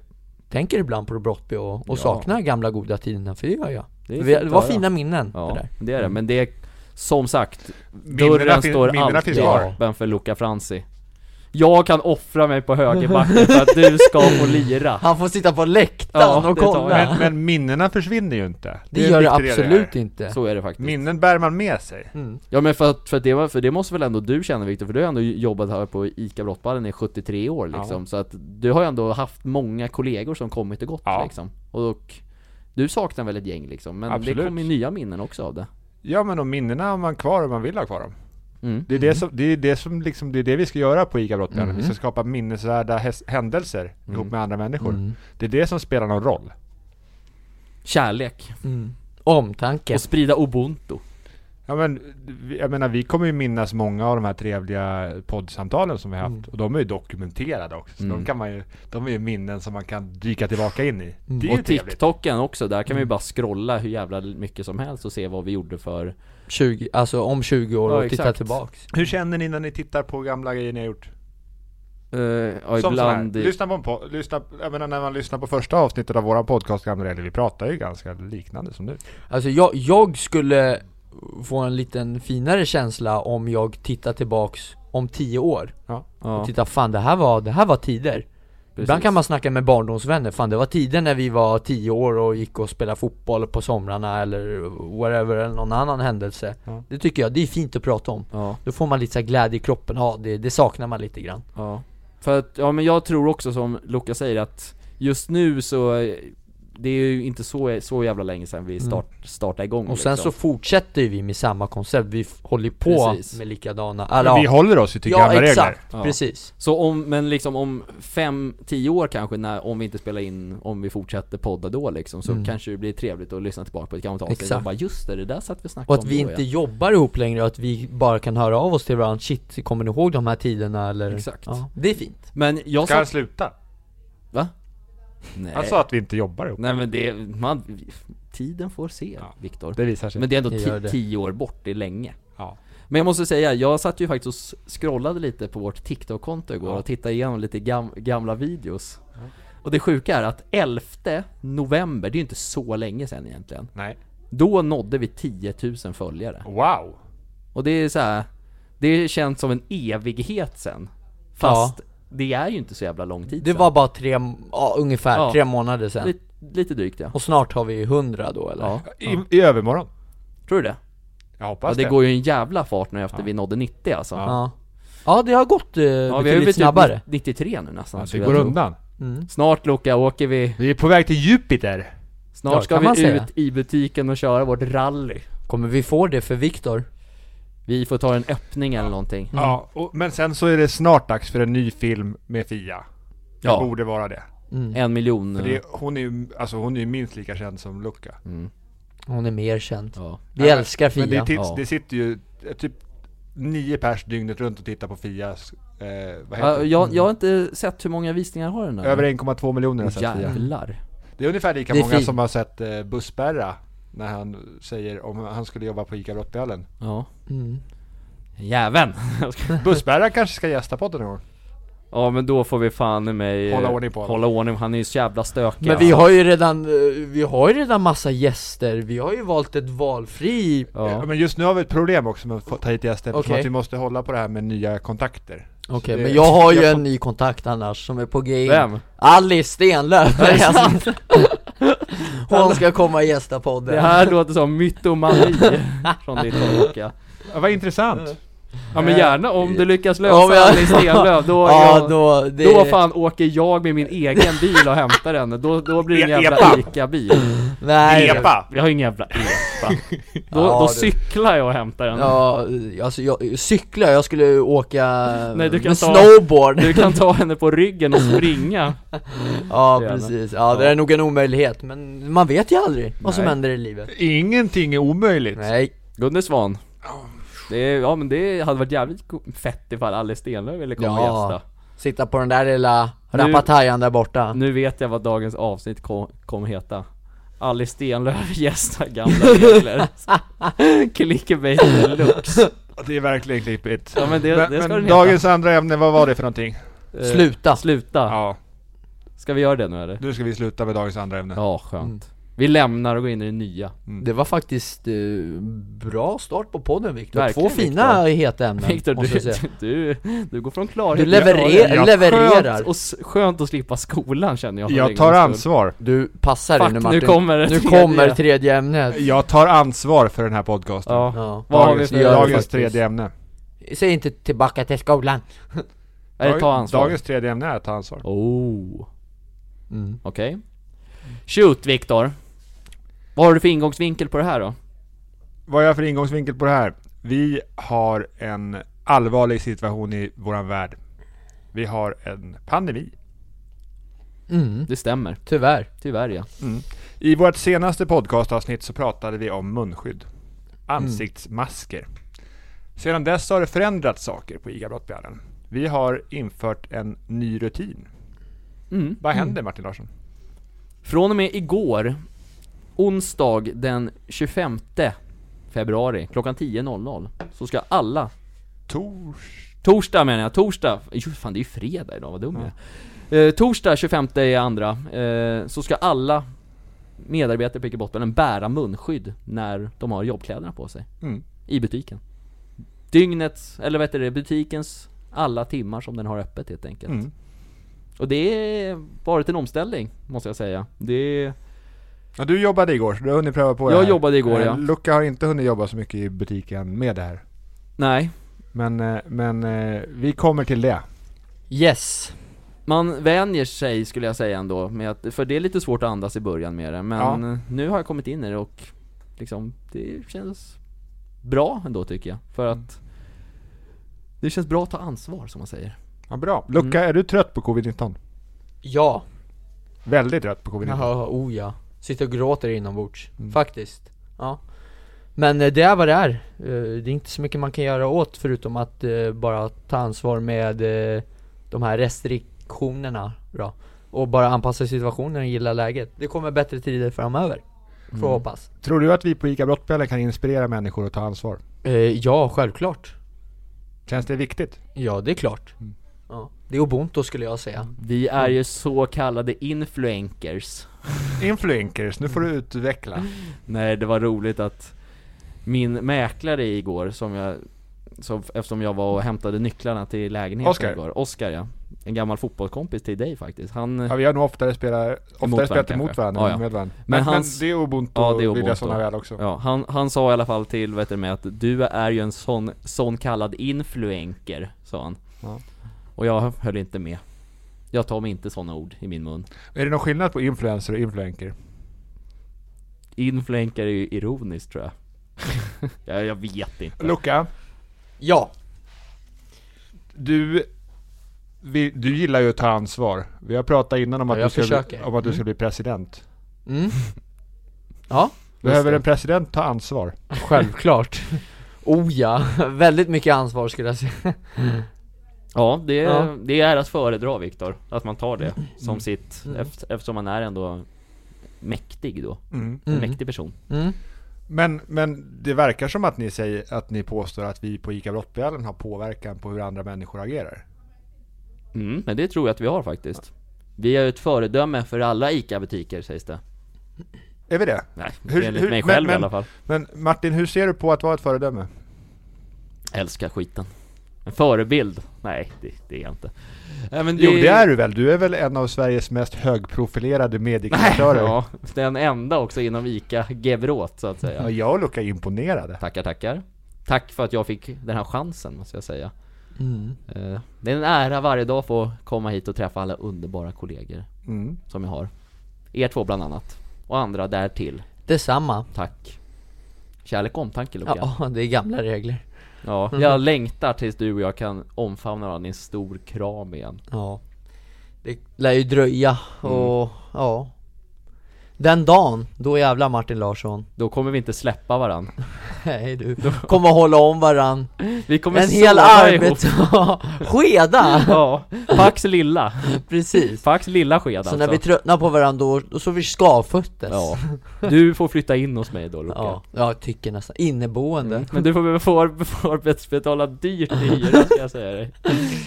tänker ibland på Brottby och, och
Ja.
saknar gamla goda tiderna, för det gör
är
jag Vi-
fint
Det
att
var
höra.
fina minnen det
Ja,
där.
det är det, men det är som sagt
Minnena
Dörren
fin-
står
minnena
alltid
finns kvar.
öppen för Luca Franzi Jag kan offra mig på högerbacken för att du ska få lira
Han får sitta på läktaren
Ja,
och
det tar
kolla
jag.
Det,
Men, men minnena försvinner ju inte. är
gör det
viktigt
absolut inte
Så är det faktiskt
Minnen bär man med sig.
mm.
Ja men för, att- för, att det, var- för det måste väl ändå du känna Viktor, för du har ju ändå jobbat här på ICA Brottballen i 73 år liksom, så att du har ju ändå haft många kollegor som kommit och gått
Ja.
liksom och, och du saknar väl ett gäng liksom, men det
Absolut.
kommer ju nya minnen också av det
Ja men de minnena har man kvar om man vill ha kvar dem.
mm.
Det är det som, det är det som liksom, det är det vi ska göra på ICA
Mm.
Brottbjörnen. Vi ska skapa minnesvärda häs- händelser ihop med andra människor.
Mm.
Det är det som spelar någon roll.
Kärlek,
Mm. Omtanke
och sprida ubuntu
Ja, men, vi- jag menar, vi kommer ju minnas många av de här trevliga poddsamtalen som vi haft. Och de är ju dokumenterade också. Så de, kan man ju, de är ju minnen som man kan dyka tillbaka in i. Det är ju
Och
trevligt.
TikToken också, där kan vi ju bara scrolla hur jävla mycket som helst och se vad vi gjorde för
20, alltså om 20 år
Ja,
och titta
exakt.
tillbaks
Hur känner ni när ni tittar på gamla grejer ni har gjort?
eh, ja,
Som sån här.
ibland
Lyssna på en podd, lyssna, jag menar när man lyssnar på första avsnittet av våran podcast Gamla regler, vi pratar ju ganska liknande som nu.
Alltså jag, jag skulle få en liten finare känsla om jag tittar tillbaks om 10 år
ja,
och tittar "Ah, fan det här var, det här var tider Ibland
precis.
kan man snacka med barndomsvänner, fan det var tiden när vi var 10 år och gick och spelade fotboll på somrarna eller whatever eller någon annan händelse
Ja.
Det tycker jag, det är fint att prata om
ja.
Då får man lite så här glädje i kroppen, ja det, det saknar man lite grann
Ja. För att, ja men jag tror också som Luca säger att just nu så, eh, det är ju inte så, så jävla länge sedan vi start, startade igång
Mm. Och sen så
liksom.
fortsätter ju vi med samma koncept, vi f- håller på
Precis.
med likadana,
Men
eller
Vi håller oss ju till
ja
gamla regler.
exakt,
Ja.
precis
så om, men liksom om 5-10 år kanske när, om vi inte spelar in, om vi fortsätter podda då liksom så kanske det blir trevligt att lyssna tillbaka på ett gammalt avsnitt och
Mm. Exakt.
bara just det, det där satt vi och snackade
Och att
om
vi
då,
inte
ja.
jobbar ihop längre och att vi bara kan höra av oss till varandra, shit, kommer ni ihåg de här tiderna eller?
Exakt.
Ja, det är fint
Men jag
Ska Alltså- han
satt,
sluta?
va? Nej.
Han sa att vi inte jobbar ihop.
Nej men det, man, tiden får se Viktor
Det visar sig.
Men det är ändå
Det gör
ti-
det.
tio år bort, det är länge
Ja.
Men jag måste säga, jag satt ju faktiskt och s- scrollade lite på vårt TikTok-konto igår
Ja.
och tittade igenom lite gam- gamla videos Och det sjuka är att 11 november, det är ju inte så länge sedan egentligen
Nej.
Då nådde vi 10 000 följare
Wow!
Och det är så här, det känns som en evighet sen Fast det är ju inte så jävla lång tid
Det
sen.
var bara tre, ja, ungefär
Ja.
tre månader sedan
lite, lite drygt ja.
Och snart har vi 100 då eller?
ja
I, I övermorgon.
Tror du det?
Jag
Ja,
hoppas
det går ju en jävla fart nu efter vi nådde 90 alltså
Ja, ja det har gått eh,
Ja, vi har ju
betydligt
blivit
snabbare
93 nu nästan
Ja, det
skulle
går
jag tro.
undan.
Snart Luca åker vi,
Vi är på väg till Jupiter.
snart
Ja,
ska
kan
vi
man
ut
säga.
i butiken och köra vårt rally
Kommer vi få det för Viktor?
Vi får ta en öppning eller någonting
Ja, och, men sen så är det snart dags för en ny film med Fia. Det
Ja.
borde vara det.
En miljon
För
Mm.
det hon, är ju, alltså, hon är ju minst lika känd som Luca.
Hon är mer känd
ja.
Vi älskar Mm. Fia
Men det, är tids,
ja.
det sitter ju eh, typ nio pers dygnet runt och tittar på Fias... Eh, vad heter
Ja,
det?
jag, jag har inte sett hur många visningar har den här
Över 1,2 miljoner har
Åh,
sett Fia.
Jävlar
Det är ungefär lika
Det är
många
fint.
som har sett eh, Bussberra. När han säger om han skulle jobba på ICA Brottbjörnen.
Ja
Mm.
Jäveln!
Bussberra kanske ska gästa podden någon gång.
ja men då får vi fan i mig eh,
Hålla ordning på honom.
Hålla ordning, han är ju så jävla stökig alltså.
Men vi har ju redan, eh, vi har ju redan massa gäster, vi har ju valt ett valfri
Ja.
ja.
Men just nu har vi ett problem också med att få ta hit gäster eftersom
Okej.
att vi måste hålla på det här med nya kontakter. Så
Okej,
det-
men Eh, jag har ju
jag
en ny kontakt annars som är på G
Vem?
Alice Stenlöf! Alltså, Hon ska komma och gästa
Det
podden
här låter som mytomani från ditt håll Luca.
Ja, vad intressant!
Ja men gärna, Eh, om du lyckas lösa
Om jag-
Alice Stenlöf, då, är
Ja
jag-
då, det
Då fan åker jag med min egen bil och hämtar henne, då, då blir det en
E-
jävla
epa.
ICA-bil
nej
Vi har ingen jävla EPA Då,
Ja,
då
det-
cyklar jag och hämtar henne
Ja, alltså jag, cykla, jag skulle ju åka
Nej, du kan
med
ta-
snowboard
Du kan ta henne på ryggen och springa
Ja
Gärna.
precis, ja det är nog en omöjlighet men man vet ju aldrig vad som
Nej.
händer i livet
Ingenting är omöjligt!
Nej
Gunde Svan Det, är- ja men det hade varit jävligt ko- fett ifall Alice Stenlöf ville komma
Ja.
och gästa
Sitta på den där lilla
Nu-
rapatajan där borta
Nu vet jag vad dagens avsnitt kom, kom heta Alice Stenlöf gästar gamla regler Clickbait deluxe
Det är verkligen klippigt.
Ja, men det-
men,
det ska
men
den
dagens andra ämne, vad var det för någonting?
Eh,
Sluta!
Sluta!
Ja,
Ska vi göra det nu eller?
nu ska vi sluta med dagens andra ämne.
Ja, skönt
Mm.
Vi lämnar och går in i det nya
Det var faktiskt eh, bra start på podden Viktor, två
Verkligen,
fina heta ämnen
Viktor,
måste jag
du,
säga
du, du går från klarhet
Du
till
leverer-
klarhet.
jag-
levererar!
Skönt, och, s- skönt att slippa skolan känner jag för en
Jag tar
gångs skull.
ansvar.
Du, passar dig
Fuck,
nu
nu
Martin
kommer det
nu
tredje.
kommer tredje ämnet
Jag tar ansvar för den här podcasten.
Ja,
ja.
vad har vi
Dagens-
för...
Ja,
Dagens
faktiskt.
tredje ämne.
Säg inte tillbaka till skolan
Nej, ta ansvar
Dagens tredje ämne är att ta ansvar.
Oh.
Mm.
Okej. Shoot Viktor. Vad har du för ingångsvinkel på det här då?
Vad är jag för ingångsvinkel på det här? Vi har en allvarlig situation i våran värld. Vi har en pandemi.
mm.
Det stämmer.
Tyvärr
Tyvärr ja.
I vårt senaste podcastavsnitt så pratade vi om munskydd.
Mm.
Ansiktsmasker. Sedan dess har det förändrats saker på IGA Brottbjörnen. Vi har infört en ny rutin.
Mm.
Vad händer Martin Larsson?
Från och med igår, onsdag den 25 februari klockan 10.00 så ska alla,
Tors...
torsdag menar jag, torsdag, jo fan det är ju fredag idag, vad dum jag är. Eh, torsdag 25 i andra, eh, så ska alla medarbetare på Ica Brottbjörnen bära munskydd när de har jobbkläderna på sig.
Mm.
I butiken. Dygnets, eller vad heter det, butikens alla timmar som den har öppet helt enkelt.
Mm.
Och det har varit en omställning, måste jag säga. Det,
Ja, du jobbade igår, så du har hunnit pröva på det
Jag
här.
jobbade igår,
Eh,
ja.
Luca har inte hunnit jobba så mycket i butiken med det här.
nej.
Men, eh, men eh, vi kommer till det.
Yes
Man vänjer sig skulle jag säga ändå, med att, för det är lite svårt att andas i början med det. Men
Ja.
nu har jag kommit in i det och liksom, det känns bra ändå tycker jag. För
Mm.
att det känns bra att ta ansvar som man säger.
Ja, bra.
Mm.
Luca, är du trött på covid-19?
Ja
Väldigt trött på covid-19.
Jaha, oh ja Sitter och gråter inombords, faktiskt Ja Men eh, det är vad det är Eh, Det är inte så mycket man kan göra åt förutom att eh, bara ta ansvar med eh, de här restriktionerna då. Och bara anpassa situationen och gilla läget Det kommer bättre tider framöver Får jag hoppas
Tror du att vi på ICA Brottbjörnen kan inspirera människor att ta ansvar?
eh, Ja, självklart
Känns det viktigt?
Ja, det är klart ja. Det är ubuntu skulle jag säga
Vi
Mm.
är ju så kallade influencers.
Influencers, nu får du utveckla.
Nej, det var roligt att min mäklare igår, som jag, som, eftersom jag var och hämtade nycklarna till lägenheten
Oscar.
igår, Oskar ja. En gammal fotbollskompis till dig faktiskt. Han,
Ja, vi har nog oftare spelat, oftare
varandra
spelat emot
kanske.
varandra
Ja,
än
ja.
med varandra. Men,
Men
men,
hans-
det är ubuntu,
Ja, det är
vill
ubuntu.
jag sådana väl också.
ja, han, han sa i alla fall till, vet du med att du är ju en sån, sån kallad influencer, sa han.
Ja.
Och jag höll inte med. Jag tar mig inte såna ord i min mun.
Är det någon skillnad på influencer och influencer?
Influencer är ju ironiskt tror jag. jag, jag vet inte.
Luca,
Ja,
du, vi, du gillar ju att ta ansvar. Vi har pratat innan om
Ja,
att,
jag
du, ska bli,
försöker.
om att du ska bli president.
mm. Ja
Behöver
det.
en president ta ansvar?
Självklart Oh ja, väldigt mycket ansvar skulle jag säga
Ja, det,
Ja.
det är att föredra Viktor, att man tar det som
Mm.
sitt, eft- eftersom man är ändå mäktig då, en
Mm.
mäktig person
Mm.
Men, men det verkar som att ni säger att ni påstår att vi på ICA Brottbjörnen har påverkan på hur andra människor agerar.
mm, Men det tror jag att vi har faktiskt Vi är ju ett föredöme för alla ICA-butiker sägs det
Är vi det?
Nej,
Hur-
enligt
hur-
mig
men-
själv
men-
i alla fall
Men Martin, hur ser du på att vara ett föredöme?
Älskar skiten En förebild? Nej, det, det är jag inte Nej, men
Jo, det är du väl? Du är väl en av Sveriges mest högprofilerade mediekreatörer?
Ja, den enda också inom ICA Gevrot så att säga
Ja, jag och Luca är imponerade.
Tackar, tackar. Tack för att jag fick den här chansen, måste jag säga.
Mm.
Eh, Det är en ära varje dag att få komma hit och träffa alla underbara kollegor
Mm.
som jag har. Er två bland annat. Och andra därtill.
Detsamma
Tack. Kärlek och omtanke Luca. Ja.
Ja, det är gamla regler
Mm.
jag längtar tills du och jag kan omfamna varandra i en stor kram igen.
Ja Det lär ju dröja och,
Mm.
ja Den dagen, då jävlar Martin Larsson
Då kommer vi inte släppa varandra.
Nej du, kommer hålla om varann
Vi kommer
En hel
sova
arbets...
ihop.
skeda!
Ja, Pax lilla.
Precis!
Pax lilla sked
Så
alltså.
när vi tröttnar på varandra då, då sover vi skavföttes
Ja. Du får flytta in hos mig då Luca.
ja, jag tycker nästan, inneboende
Men du får, får, får betala dyrt i hyra ska jag säga dig.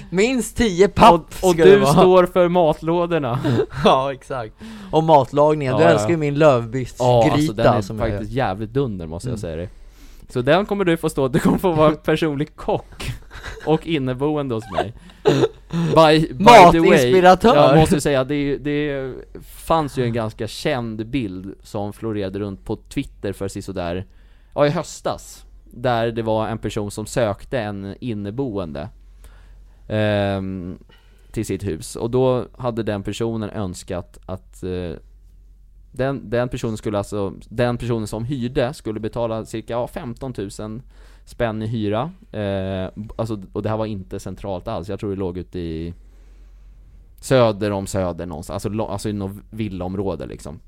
Minst 10
Och,
papp
och
ska det
du
vara.
står för matlådorna.
Ja exakt, och matlagningen, du
Ja, ja.
älskar ju min lövbiffsgryta
Ja, alltså den är
som Mm.
faktiskt jävligt dunder måste jag säga dig. Så den kommer du få stå, du kommer få vara en personlig kock och inneboende hos mig. By, by the way,
Matinspiratör.
jag måste säga det, är ju- det fanns ju en ganska känd bild som florerade runt på Twitter för sisådär, ja i höstas. Där det var en person som sökte en inneboende. ehm, till sitt hus och då hade den personen önskat att eh, den, den personen skulle alltså, den personen som hyrde skulle betala cirka ja, 15 000 spänn i hyra eh, alltså, och det här var inte centralt alls, jag tror det låg ute i Söder om Söder någonstans, alltså, lo- alltså i något villaområde liksom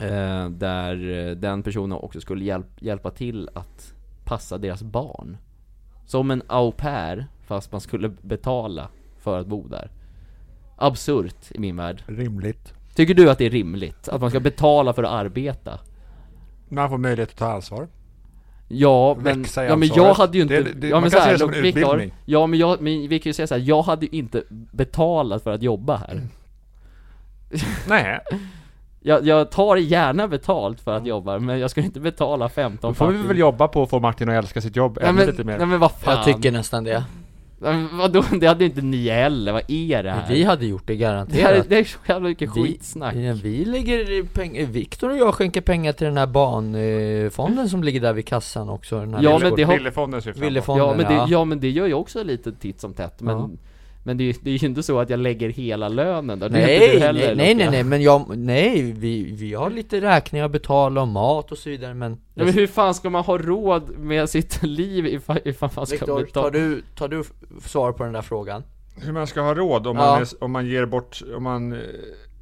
eh, Där eh, den personen också skulle hjälp, hjälpa till att passa deras barn Som en au pair, fast man skulle betala för att bo där Absurt i min värld
Rimligt.
Tycker du att det är rimligt? Att man ska betala för att arbeta?
Man får möjlighet att ta ansvar.
Ja men,
Växa i
ja, men jag
ansvaret.
hade ju inte...
Det- det-
ja,
man
men
kan
så här,
se det som en
Lok- Vic har-
utbildning.
Ja men jag, men vi kan ju säga så här, jag hade ju inte betalat för att jobba här
Nej,
Jag, jag tar gärna betalt för
Mm.
att jobba, men jag ska inte betala 15
då får vi
papp i-
väl jobba på att få Martin att älska sitt jobb
nej,
ännu
men,
lite mer.
Nej men vad fan
Jag tycker nästan det
Nej, men vadå, det hade ju inte ni heller, vad är det här?
Vi hade gjort det
det, här,
garanterat
det är så jävla mycket
Vi-
skitsnack
Ja, vi lägger pengar, Viktor och jag skänker pengar till den här barnfonden som ligger där vid kassan också den här
Ja,
Lillefors-
men det har-
Villefondens syfte.
Villefonden
ja men, det, ja men det gör jag också lite titt som tätt, men
Ja.
Men det, är ju- det är ju inte så att jag lägger hela lönen där, det är inte
Nej,
du heller
nej, nej, nej,
Luka.
nej, men jag, nej, vi, vi har lite räkningar att betala och mat och så vidare men
Nej, men hur fan ska man ha råd med sitt liv ifall, ifall man ska
Viktor,
betala?
tar du, tar du f- svar på den där frågan?
Hur man ska ha råd om,
Ja.
man, är- om man ger bort, om man... eh,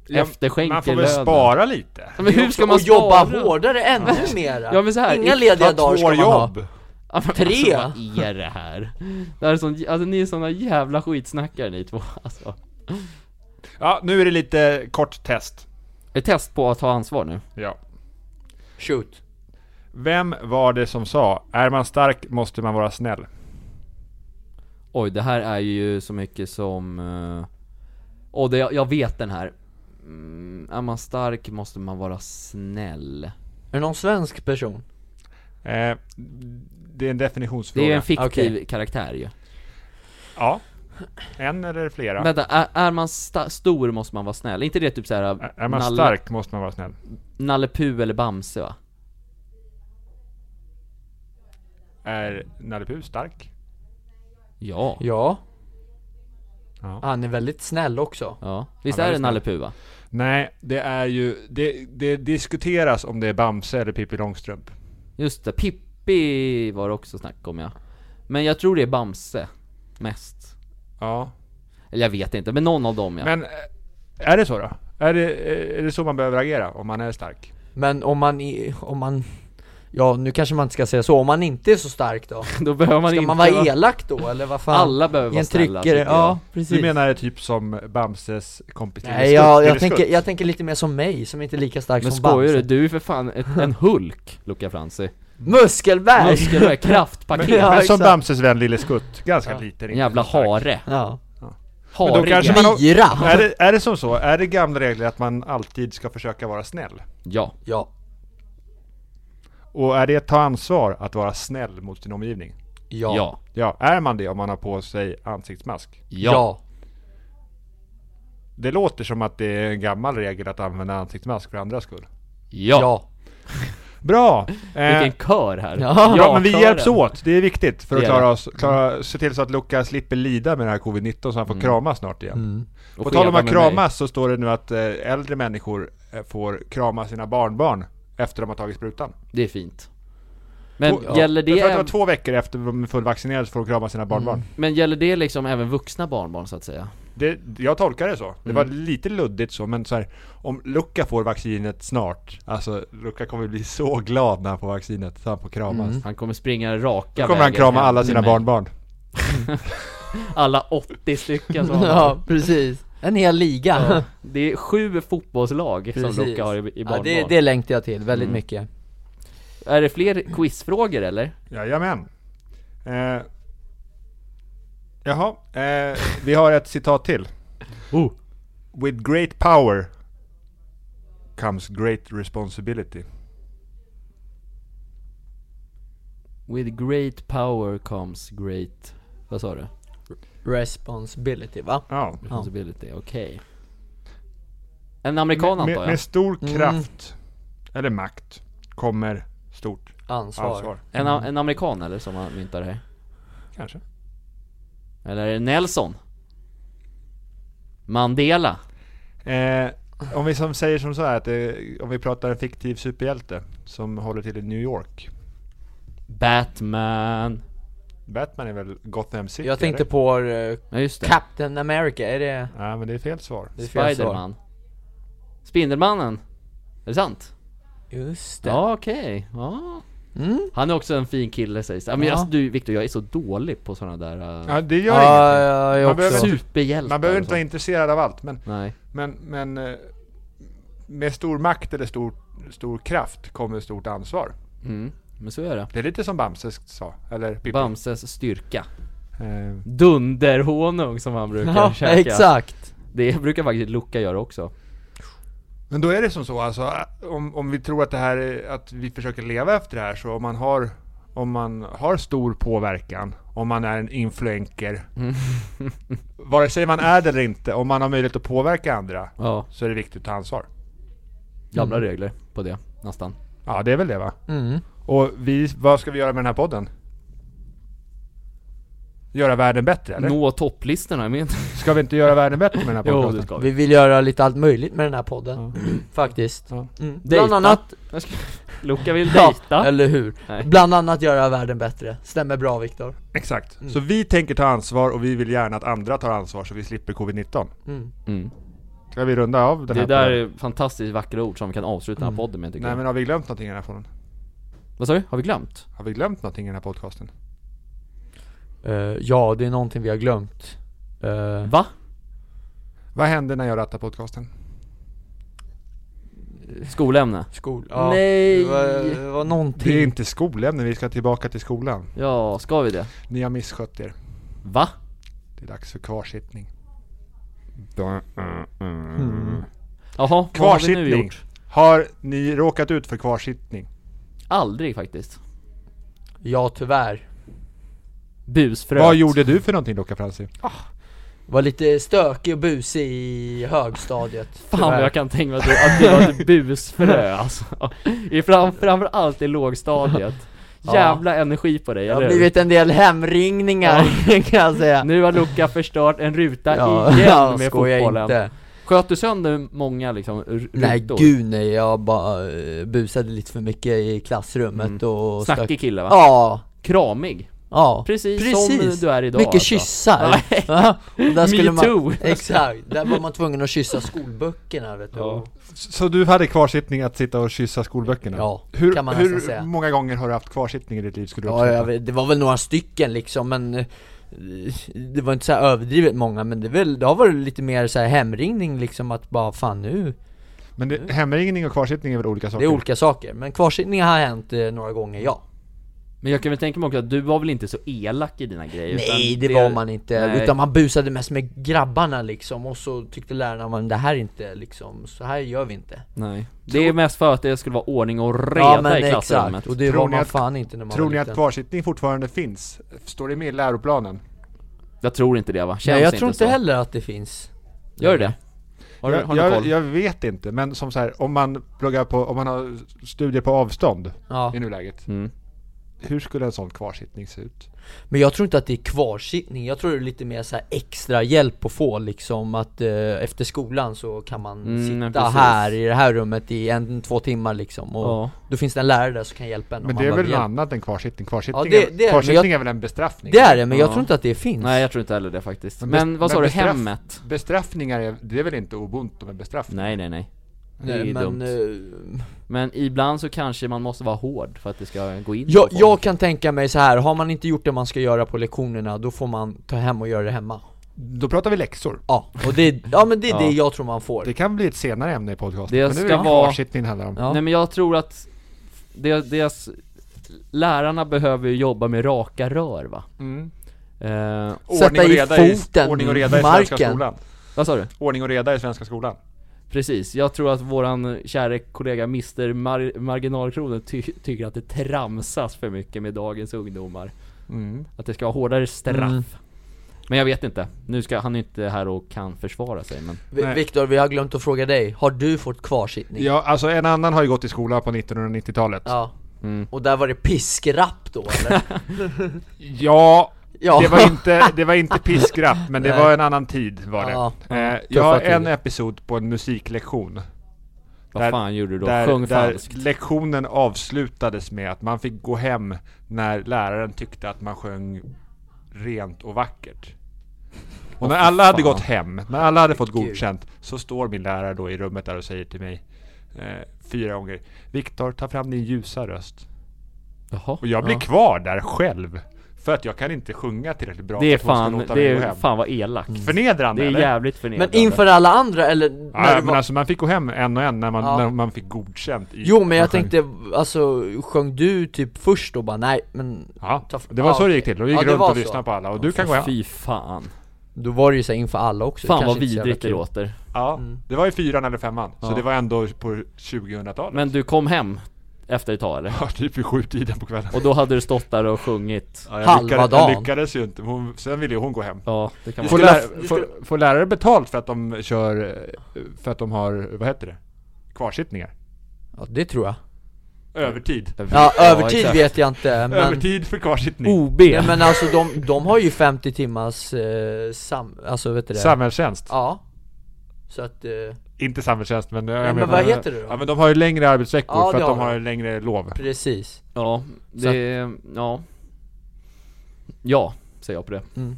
ja,
Efterskänker
Man får väl
lönen.
spara lite?
Ja, men hur ska man
och jobba
spara?
hårdare ännu mera!
Ja, men så här,
Inga
i-
lediga dagar ska
två
man ha!
jobb!
Ja, men
Tre.
Alltså, vad är det här? Det här är sån, alltså ni är såna jävla skitsnackare ni två alltså.
Ja, nu är det lite kort test.
Ett test på att ta ansvar nu.
Ja.
Shoot!
Vem var det som sa Är man stark måste man vara snäll?
Oj, det här är ju så mycket som... eh, Åh, det, jag, jag vet den här. Mm, är man stark måste man vara snäll.
Är det någon svensk person?
Eh, det är en
Det
definitionsfråga.
är ju en fiktiv
Okej.
karaktär ju.
Ja. En eller flera.
Vänta, är, är man sta- stor måste man vara snäll. Är inte det typ såhär...
Är- är man
Nalle-
stark måste man vara snäll.
Nalle Puh eller Bamse va?
Är Nalle Puh stark?
Ja.
Ja,
Ja.
han är väldigt snäll också
Ja. Visst
Ja,
är det
just det.
Nalle Puh va?
Nej, det är ju... Det, det diskuteras om det är Bamse eller Pippi Långstrump.
Just det, Pippi var det också snack om ja. Men jag tror det är Bamse, mest.
Ja.
Eller jag vet inte, men någon av dem ja.
Men eh, är det så då? Är det, eh, är det så man behöver agera om man är stark?
Men om man, i- om man, ja nu kanske man inte ska säga så, om man inte är så stark då?
Då behöver man
Ska
inte
man vara elak då eller vad fan?
Alla behöver
I
vara
en
snälla alltså.
tryckare,
tycker jag.
ja precis
Du menar det typ som Bamses kompis
Nej jag, jag, tänker, jag tänker lite mer som mig, som inte är lika stark
Men
som
skojar du?
Bamse
Du är för fan ett, en Hulk, Luca Franzi
Muskelberg!
Muskelberg, kraftpaket,
Men,
Ja,
men som
exakt.
Bamses vän Lille Skutt, ganska
Ja.
liten.
en
inte
jävla
så stark.
hare
ja,
då
Hare
kanske man-
fyra!
Är det, är det som så? Är det gamla regler att man alltid ska försöka vara snäll?
Ja,
Ja,
Och är det att ta ansvar att vara snäll mot sin omgivning?
ja,
ja,
ja,
ja,
Ja, är man det om man har på sig ansiktsmask? Det låter som att det är en gammal regel att använda ansiktsmask för andras skull.
ja.
Bra! Eh,
Vilken kör här!
Ja.
ja, men vi
kören.
hjälps åt. Det är viktigt för
Det
att
är
klara oss, klara, se till så att Luca slipper lida med det här covid-19 så han får kramas snart igen.
Mm. Och
På tal om
skeva
att
med mig.
kramas så står det nu att eh, äldre människor eh, får krama sina barnbarn efter de har tagit sprutan.
Det är fint Men
Två-
gäller det,
Jag tror att det var
även-
två veckor efter de är fullvaccinerade så får de krama sina barnbarn.
men gäller det liksom även vuxna barnbarn så att säga?
Det, jag tolkar det så. Det var lite luddigt så, men så här, om Luca får vaccinet snart, alltså Luca kommer bli så glad när han får vaccinet, så han får kramas.
Mm.
Han kommer springa raka
Då kommer han
vägen
krama
hem
alla
till
sina
mig.
barnbarn.
Alla 80 stycken som har
Ja, precis. En hel liga.
Ja. Det är sju fotbollslag som Luka har i, i
ja,
barnbarn.
det, det längtar jag till väldigt
Mm.
mycket.
Är det fler quizfrågor eller?
Jajamän. Eh, jaha, eh, vi har ett citat till.
Oh.
With great power comes great responsibility.
With great power comes great... Vad sa du?
Responsibility va?
Ja.
Responsibility, okej En amerikan
med,
antar jag?
med stor kraft, eller makt, kommer stort
Ansvar.
ansvar.
En, a- en amerikan eller som har myntat det här?
Kanske.
Eller är det Nelson? Mandela?
Eh, om vi som säger som så här att eh, om vi pratar en fiktiv superhjälte som håller till i New York.
Batman?
Batman är väl Gotham City?
Jag tänkte
eller?
på eh,
Ja just det,
Captain America, är det...
Nej, men det är fel svar.
det är fel svar.
Spiderman? Spindelmannen? Är det sant?
Just det.
Ja okej, ja
Mm.
Han är också en fin kille sägs det. Ja, Men
Ja.
alltså, du Viktor, jag är så dålig på sådana där eh,
Ja, det gör
Ja,
ingenting.
ja, jag
Man
också.
behöver inte-
superhjältar
Man behöver
och
inte vara
sånt.
intresserad av allt, men,
Nej,
men, men eh, med stor makt eller stor, stor kraft kommer stort ansvar.
mm. men så är det
Det är lite som Bamse sa, eller Pippi.
Bamses styrka
Eh,
Dunderhonung som han brukar
Ja,
käka
exakt.
Det brukar faktiskt Luca göra också
Men då är det som så alltså, ä- om, om vi tror att det här är, att vi försöker leva efter det här så om man har, om man har stor påverkan, om man är en influencer,
Mm.
vare sig man är det eller inte, om man har möjlighet att påverka andra,
Ja,
så är det viktigt att ta ansvar.
gamla regler på det, nästan
Ja, det är väl det va?
Mm.
Och vi, vad ska vi göra med den här podden? Göra världen bättre eller?
Nå topplistorna, jag menar
Ska vi inte göra världen bättre med den här
Jo
podden?
det ska vi
Vi vill göra lite allt möjligt med den här podden. Faktiskt.
Ja.
Mm. Bland
Dejta.
annat...
Jag ska- Luca vill
Ja,
dejta
eller hur?
Nej.
Bland annat göra världen bättre. Stämmer bra Viktor.
Exakt.
Mm.
Så vi tänker ta ansvar och vi vill gärna att andra tar ansvar så vi slipper covid-19.
Mm.
mm.
Ska vi runda av den
Det
här
där
podden?
är fantastiskt vackra ord som vi kan avsluta den här podden med tycker
Nej
jag
men har vi glömt någonting i den här podden?
Vad sa du? Har vi glömt?
Har vi glömt någonting i den här podcasten?
Eh, ja, det är någonting vi har glömt. Eh,
Va?
Vad händer när jag rattar podcasten?
Skolämne?
skol... Ja.
Nej.
Det var, det var
Det är
någonting.
inte skolämne, vi ska tillbaka till skolan.
Ja, ska vi det?
Ni har misskött er.
Va?
Det är dags för kvarsittning. eh,
Jaha, vad har vi nu
Kvarsittning.
gjort?
Har ni råkat ut för kvarsittning?
Aldrig faktiskt
Ja, tyvärr.
Busfröet
Vad gjorde du för någonting Luca Franzi?
Var lite stökig och busig i högstadiet.
Fan vad
tyvärr.
jag kan tänka mig att du, att du var ett busfrö alltså. I fram, Framförallt i lågstadiet
Ja.
Jävla energi på dig,
Det har
eller hur?
blivit en del hemringningar kan jag säga.
Nu har Luca förstört en ruta
Ja,
igen
ja,
med
skoja
fotbollen
inte.
Sköt du sönder många liksom r-
Nej
rutor?
gud nej, jag bara eh, busade lite för mycket i klassrummet
Mm.
och stack-
Snackig kille va?
Ja,
Kramig?
ja
Precis, som du är idag
Mycket
alltså.
kyssar
Nej.
Ja, och där
Me
skulle
too.
man, Exakt, där var man tvungen att kyssa skolböckerna vet du
Ja.
Så du hade kvarsittning att sitta och kyssa skolböckerna?
Ja,
hur,
kan man
Hur
nästan säga.
många gånger har du haft kvarsittning i ditt liv skulle du
Ja, jag
uppskatta?
vet, det var väl några stycken liksom men eh, Det var inte så här överdrivet många men det, är väl, det har varit lite mer så här hemringning liksom att bara fan nu
Men det, hemringning och kvarsittning är väl olika
Mm. Det
saker?
är olika saker, men kvarsittningar har hänt eh, några gånger ja
Men jag kan väl tänka mig också att du var väl inte så elak i dina grejer?
Nej
utan
det var man inte,
Nej.
utan man busade mest med grabbarna liksom och så tyckte lärarna men det här är inte liksom, så här gör vi inte
Nej. Det är mest för att det skulle vara ordning och reda i klassrummet
och det
Tror
var
ni
man
att-
fan inte när man
Tror
var
ni
liten
att kvarsittning fortfarande finns? Står det med i läroplanen?
Jag tror inte det va? Känns
Nej jag
inte
tror inte
så.
heller att det finns
Gör det? Har, du-
jag,
har du
jag,
koll?
jag vet inte, men som så här, om man pluggar på, om man har studier på avstånd
Ja,
i nuläget.
Mm.
hur skulle en sån kvarsittning se ut?
Men jag tror inte att det är kvarsittning, jag tror det är lite mer så här extra hjälp att få liksom att eh, efter skolan så kan man
Mm,
sitta
precis.
här i det här rummet i en, två timmar liksom och
Ja. Mm.
då finns det en lärare där som kan hjälpa en om
Men
man
det är
behöver
väl något
hjälp.
annat än kvarsittning? Kvarsittning,
Ja, det-
är,
det är- men
kvarsittning
jag-
är väl en bestraffning?
Det är det, men jag
Ja.
tror inte att det finns
Nej jag tror inte heller det faktiskt.
Men
Men,
bes-
vad sa
men
du,
bestraff-
hemmet?
Bestraffningar, är, det är väl inte ubuntu med bestraffning?
Nej nej nej. Det är
Nej,
ju dumt.
men, eh,
Men ibland så kanske man måste vara hård för att det ska gå in
jag,
på folk.
jag kan tänka mig så här har man inte gjort det man ska göra på lektionerna då får man ta hem och göra det hemma
Då pratar vi läxor.
Ja, och det, ja men det är
Ja.
det jag tror man får
Det kan bli ett senare ämne i podcasten.
Det
men nu är
ska
det
vara-
kvarsittning det handlar om.
Ja.
Nej men jag tror att det- deras, lärarna behöver ju jobba med raka rör va?
Mm.
Eh,
Sätta
Ordning och
i
reda i
foten
ordning och
i
reda i svenska
marken.
skolan.
vad sa du?
Ordning och reda i svenska skolan.
Precis, jag tror att våran kära kollega Mr Mar- Marginalkronen ty- tycker att det tramsas för mycket med dagens ungdomar
Mm.
Att det ska ha hårdare straff
Mm.
Men jag vet inte, nu ska han är inte här och kan försvara sig men
Vi-
Nej.
Viktor, vi har glömt att fråga dig, har du fått kvarsittning?
Ja, alltså en annan har ju gått i skola på 1990-talet. Ja,
Ja.
Mm.
Och där var det piskrapp då eller? ja.
Det, var inte, det var inte piskrapp, men det
Nej.
var en annan tid var det.
Ja,
Eh, jag
Tuffa
har en
tider.
episod på en musiklektion.
Vad
Där-
fan gjorde du då?
Där,
Sjung
där
falskt
lektionen avslutades med att man fick gå hem när läraren tyckte att man sjöng rent och vackert. Och när alla hade
fan.
gått hem, när alla hade fått
Herregud.
godkänt, så står min lärare då i rummet där och säger till mig eh, fyra gånger Viktor, ta fram din ljusa röst.
Jaha
Och jag blir
Ja.
kvar där själv. För att jag kan inte sjunga tillräckligt bra
Det är
för att hon
fan,
ska låta
det
mig gå
är
hem. Mm.
fan vad elakt
Förnedrande
Det är
eller?
jävligt
Men
förnedrande
inför alla andra eller? när
Ja,
det
men
var...
alltså man fick gå hem en och en när man,
Ja.
när man fick godkänt i
Jo men
man
jag
sjöng.
tänkte, alltså sjöng du typ först och bara nej men
Ja,
Ta f-
det var
ja,
så det
okej.
gick till. Då gick
Ja, det
runt
var
och
så.
lyssnade på alla och du kan gå
Åh,
hem.
Fy fan
Då var det ju så här inför alla också
Fan
kanske
vad
inte så jävla
vidrigt det
kul.
låter
Ja,
Mm.
det var i fyran eller femman. Så
Ja.
det var ändå på 2000-talet.
Men du kom hem efter ett tag eller?
Ja, typ vid sjutiden på kvällen.
Och då hade du stått där och sjungit
Ja, jag
halva
lyckades,
dagen.
Jag lyckades ju inte. Hon, sen ville ju hon gå hem.
Ja, det kan
Får,
man
skulle
lär,
ha- du
får, får lärare betalt för att de kör, eh, för att de har, vad heter det? Kvarsittningar?
Ja det tror jag
Övertid.
Ja, övertid
exakt.
vet jag inte Mm. men
Övertid för kvarsittning.
OB!
Nej men alltså de, de har ju 50 timmars eh, sam, alltså vet du det?
Samhällstjänst.
Ja Så att, eh,
Inte samhällstjänst men... eh, jag
men
menar-
vad heter det då?
Ja men de har ju längre arbetsveckor
Ja,
för
det
att de
har
har längre lov.
precis
Ja,
Så
det, ja Ja, säger jag på det
Mm.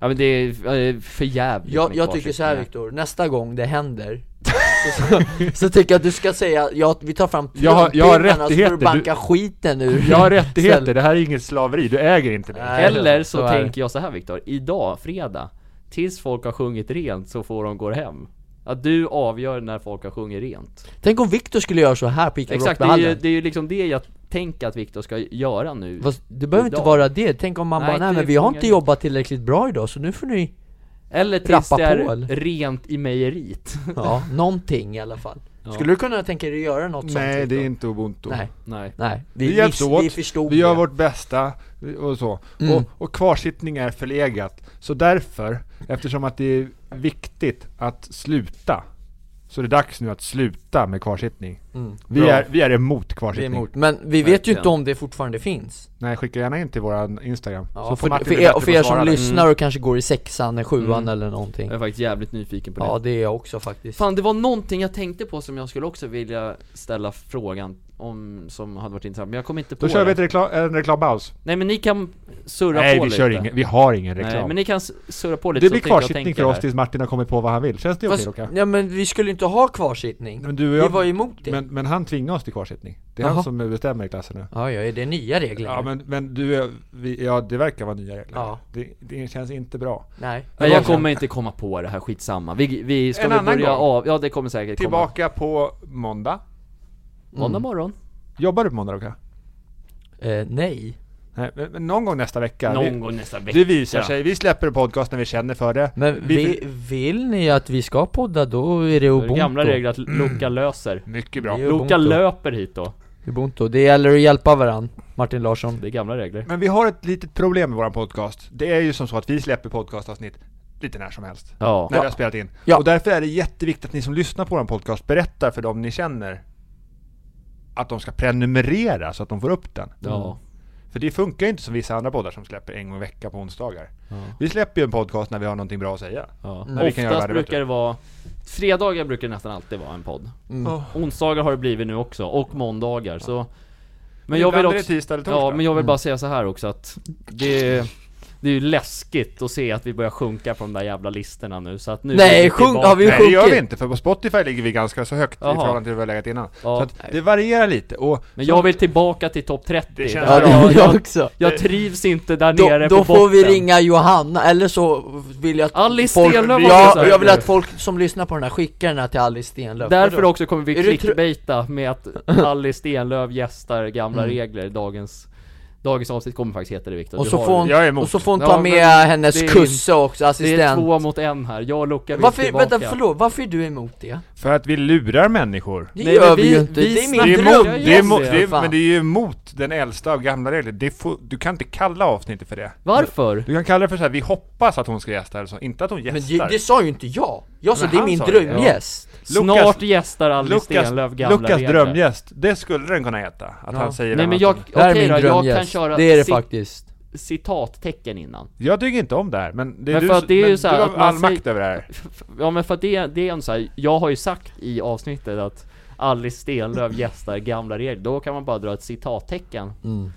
Ja men det är eh, för jävligt
Jag,
med
jag tycker så här
kvarsittningar.
Viktor, nästa gång det händer så, så tycker jag att du ska säga, ja, vi tar fram
Jag har- jag har
trumpinarna så får
rättigheter,
du
du-
banka skiten ur
Jag har rättigheter, det här är inget slaveri, du äger inte det.
Nej,
Eller så,
så är det.
tänker jag så här Viktor, idag, fredag Tills folk har sjungit rent så får de gå hem Att du avgör när folk har sjungit rent
Tänk om Viktor skulle göra så här på Ica
Exakt, det är, ju,
Exakt,
det är ju liksom det jag tänker att Viktor ska göra nu
Fast det behöver inte
idag.
vara det, tänk om man
Nej,
bara nej
det
men vi har
fångar
inte
det.
jobbat tillräckligt bra idag så nu får ni,
Eller tills
Rappa
det är
på, eller?
rent i mejeriet
ja, någonting i alla fall
Ja.
Skulle du kunna tänka dig att göra något sånt
Nej, det är
Viktor?
inte ubuntu.
Nej,
Nej
nej,
Vi
vi, vi,
hjälps åt.
vi förstod
Vi gör
det.
vårt bästa och så.
Mm.
Och, och kvarsittning är förlegat. Så därför, eftersom att det är viktigt att sluta, så är det dags nu att sluta med kvarsittning.
Mm.
Vi,
Bra.
är, vi är emot
Vi är
kvarsittning.
emot. Men vi vet ju
Verkligen.
inte om det fortfarande finns
Nej, skicka gärna in till våran Instagram.
ja,
får
för,
Martin
för,
bli
er,
bättre
för
på
er
att svara
som
där.
lyssnar och kanske går i sexan, sjuan
Mm.
eller någonting
Jag är faktiskt jävligt nyfiken på det
Ja det är jag också faktiskt
Fan det var någonting jag tänkte på som jag skulle också vilja ställa frågan om, som hade varit intressant, men jag kom inte på
Då kör vi
det.
ett reklam, en reklampaus.
Nej men ni kan surra
Nej,
på
vi
lite
kör ingen, vi har ingen
Nej
reklam.
men ni kan s- surra på lite
det
så
blir
tänker jag
kvarsittning
tänka
för oss
där.
tills Martin har kommit på vad han vill. Känns det okej
Fast,
Loka?
ja men vi skulle inte ha kvarsittning
Men du och
Vi var
jag,
emot det
men, men han tvingade oss till kvarsittning. Det är han
Jaha.
som bestämmer i klassen nu.
Ja ja, är det nya regler?
Ja men, men du, är- vi, ja det verkar vara nya regler.
Ja.
Det, det känns inte bra.
Nej
Nej jag kommer inte komma på det här, skitsamma. Vi, vi ska
En
väl
annan
börja
gång.
av, ja det kommer säkert komma.
Tillbaka på måndag. Mm.
Måndag morgon.
Jobbar du på måndag Luka?
eh, Nej
Nej, men, men någon gång nästa vecka.
Någon
vi,
gång nästa vecka.
det visar sig. Vi släpper podcast när vi känner för det.
Men
Vi-
vi, vill ni att vi ska podda då är det
Det är
ubuntu
Gamla regler att Loka löser.
Mycket bra.
Det är-
Loka
Ubuntu.
löper hit då.
Ubuntu, det gäller att hjälpa varandra Martin Larsson
Det är gamla regler.
Men vi har ett litet problem med våran podcast. Det är ju som så att vi släpper podcastavsnitt lite när som helst.
Ja.
När vi har spelat in.
Ja.
Och därför är det jätteviktigt att ni som lyssnar på våran podcast berättar för dem ni känner att de ska prenumerera så att de får upp den.
Ja.
För det funkar ju inte som vissa andra poddar som släpper en gång i veckan på onsdagar.
Ja.
Vi släpper ju en podcast när vi har någonting bra att säga.
Ja.
Nej, vi kan göra
Oftast
värre
brukar
bättre.
det vara Fredagar brukar det nästan alltid vara en podd
Mm.
Oh.
Onsdagar har det blivit nu också, och måndagar så Men
Men
jag vill
ibland är det
också
tisdag eller torsdag.
Ja men
Mm.
jag vill bara säga så här också att Det det är ju läskigt att se att vi börjar sjunka på de där jävla listorna nu så att nu
Nej,
är vi
sjunk-
tillbaka.
har vi-
Nej det gör
sjunkit.
vi inte, för på Spotify ligger vi ganska så högt
Jaha.
i förhållande till vad vi har legat innan.
Ja.
Så att det varierar lite och...
Men jag vill tillbaka till topp 30
Det känns
Där-
bra.
jag,
jag
jag,
också
jag trivs inte där
Då,
nere
då
på
får vi
botten.
ringa Johanna, eller så vill jag att
Alice
folk...
Stenlöf var också så
ja,
här.
jag vill att folk som lyssnar på den här skickar den här till Alice Stenlöf
Därför också kommer vi
Är du tro-
clickbaita med att Alice Stenlöf gästar gamla
Mm.
regler dagens Dagens avsnitt kommer faktiskt heta det Viktor
och
Du
så,
har
får
det.
Jag är
hon,
emot.
och så får hon
Ja,
ta
men
med hennes
det är-
kusse också,
Det är
assistent
två mot en här, jag och Luca vill
Varför,
tillbaka
vänta förlåt, varför är du emot det?
För att vi lurar människor.
Nej,
Det
men
gör
vi-
vi ju inte,
vi
det är
Det är
snackar
min
emot,
dröm!
jag gör
det är emot,
det,
det är,
fan.
men det är ju emot den äldsta av gamla regler. Det får, du kan inte kalla avsnittet för det.
Varför?
Du kan kalla det för så här, vi hoppas att hon ska gästa eller så. Inte att hon
Men
gästar.
det, det sa ju inte jag! Jag sa
Men
det är
han
min
sa det, ja.
drömgäst
Snart gästar Alice
Lukas,
Stenlöf gamla
Lukas
regler
drömgäst, det skulle den kunna heta. Att
Ja.
han säger
Nej
vem
men
han
jag,
som-
Det här är
okej
min
då, jag kan
drömgäst,
köra
det är det
cit-
faktiskt
citattecken innan
Jag tycker inte om det här, men det är
Men
du,
för att det är
men
ju så här
du
att
har
man
all
säger-
makt över det här.
Ja men för att det, det är en så här, jag har ju sagt i avsnittet att Alice Stenlöf gästar gamla regler, då kan man bara dra ett citattecken
Mm.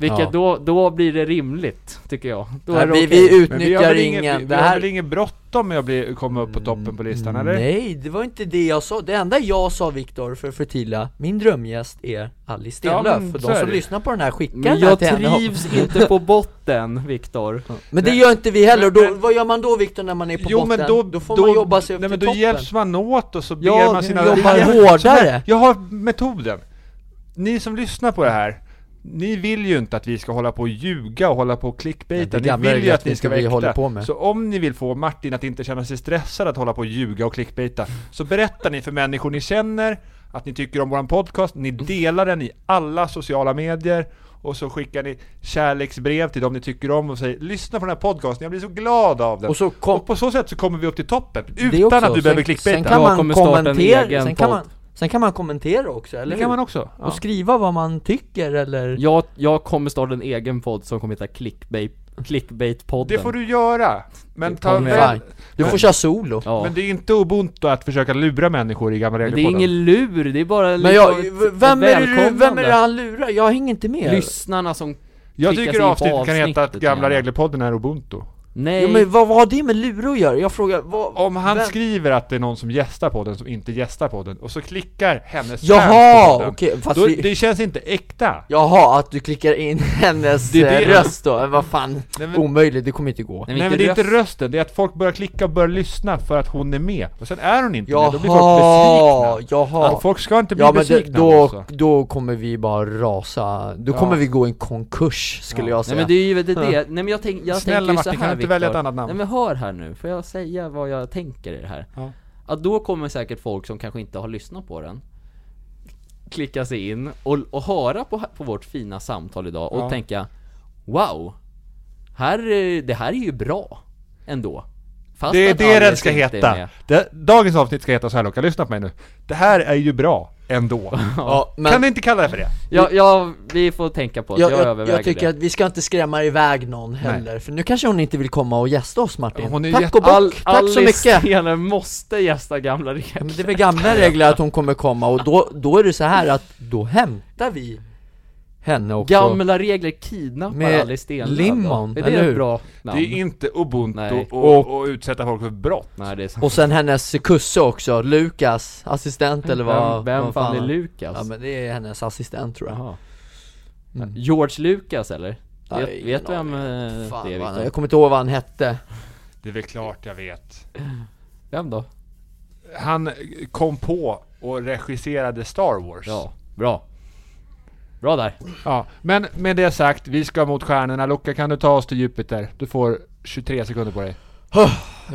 Vilket
Ja.
då, då blir det rimligt, tycker jag. Då
Nej,
är det
vi,
okej.
Men
vi
vi har
utnyttjar
väl inget, vi,
ingen,
vi
det
har
här
väl inget bråttom med att bli, komma upp på toppen på listan
Mm,
eller?
Nej, det var inte det jag sa. Det enda jag sa Viktor, för att förtydliga, min drömgäst är Alice
Ja,
Stenlöf.
men
och
så
de
är
som
det.
lyssnar på den här skickar
Men
den här
jag
till henne.
trivs inte på botten, Viktor.
Men det gör inte vi heller. Och då,
Men-
vad gör man då Viktor när man är på
Jo
botten?
men då,
då får man jobba sig upp
nej, men
till
då
toppen.
hjälps man åt och så ber
Ja,
man sina...
jobbar
Jag-
hårdare.
så här, Jag har metoden. Ni som lyssnar på det här, ni vill ju inte att vi ska hålla på och ljuga och hålla på och
Det
clickbaita. Ni
gamla
vill ju
är
att
att
ni ska
inte vi
vara
håller
äkta.
på med.
Så om ni vill få Martin att inte känna sig stressad att hålla på och ljuga och clickbaita, så berättar ni för människor ni känner att ni tycker om våran podcast, ni delar den i alla sociala medier och så skickar ni kärleksbrev till dem ni tycker om och säger lyssna på den här podcasten, jag blir så glad av den.
Och så kom-
och på så sätt så kommer vi upp till toppen
Det
utan
också.
att du behöver
Sen-
clickbaita.
Sen kan
Jag
man
kommer starta en egen
kommentera, sen kan
podd.
man, sen kan man kommentera också, eller
det kan
hur?
man också. Ja.
Och skriva vad man tycker eller...
Jag, jag kommer starta en egen podd som kommer heta clickbait, Clickbait-podden.
Det får du göra. Men, ta
kommer
väl,
Fine. Du får köra solo.
Ja.
men det är inte ubuntu att försöka lura människor i gamla regler
Men det är
på den.
ingen lur, det är bara
Men
liksom
jag,
ett-
v-
ett
vem är, det, du- vem är det
välkomnande.
han lurar? Jag hänger inte med.
Lyssnarna som
Jag
klickas
tycker
in på
avsnittet kan heta att
avsnittet
gamla
gärna.
reglerpodden är ubuntu.
Nej,
Jo, men vad, vad har det med lura att göra? Jag frågar, vad...
Om han
vem-
skriver att det är någon som gästar podden som inte gästar podden och så klickar hennes fans på
Jaha,
podden,
okej, fast
då,
vi...
Det känns inte äkta.
Jaha, att du klickar in hennes
Det är det.
eh, röst då? Eh, Vad fan,
Nej, men-
omöjligt, det kommer inte gå
Nej men det är inte rösten, det är att folk börjar klicka och börjar lyssna för att hon är med. Och sen är hon inte med, då blir folk
Jaha,
besvikna. Alltså,
jaha
Folk ska inte bli
Ja men det,
besvikna
då,
också.
då kommer vi bara rasa, då
Ja.
kommer vi gå i en konkurs
Ja.
skulle jag
Nej
säga
men det är ju det, är det. nej men jag, tänk, jag
Snälla
tänker ju så
Martin,
här,
kan du inte välja
Viktor.
ett annat namn?
Nej men hör här nu, får jag säga vad jag tänker i det här?
Ja.
Att då kommer säkert folk som kanske inte har lyssnat på den Klicka sig in och, och höra på, på vårt fina samtal idag och
Ja.
tänka Wow! Här, eh, det här är ju bra ändå Fast
Det är
att
det den
Alice
ska
inte är
heta.
med.
Det, dagens avsnitt ska heta så här Luca, lyssna på mig nu. Det här är ju bra, ändå.
ja,
Kan
men
ni inte kalla det för det?
Ja, ja, vi får tänka på det,
jag,
jag,
jag,
överväger
jag tycker
det
att vi ska inte skrämma iväg någon heller, för nu kanske hon inte vill komma och gästa oss Martin
Hon är
Tack
jätte-
och bock,
All,
tack så mycket!
Stenlöf måste gästa gamla
Ja,
regler
men det är väl gamla regler att hon kommer komma och då, då är det så här att då hämtar vi henne också
Gamla regler kidnappar
Med
Alice Stenlöf
limon,
Är det
eller
ett
hur?
bra namn?
Det är inte ubuntu
Nej.
och, och utsätta folk för brott.
Nej det är sant
Och sen hennes kusse också, Lukas, assistent eller
Vem,
vad
vem
vad
fan är
han-
Lukas?
Ja men det är hennes assistent tror jag
Jaha.
Mm.
George Lukas eller?
Nej,
vet
ingen
vet vem eh,
Fan,
det är
vad han,
Viktor?
jag kommer inte ihåg vad han hette
Det är väl klart jag vet.
Vem då?
Han kom på och regisserade Star Wars.
Ja, bra Bra där
Ja, men med det sagt, vi ska mot stjärnorna. Luca, kan du ta oss till Jupiter? Du får 23 sekunder på dig.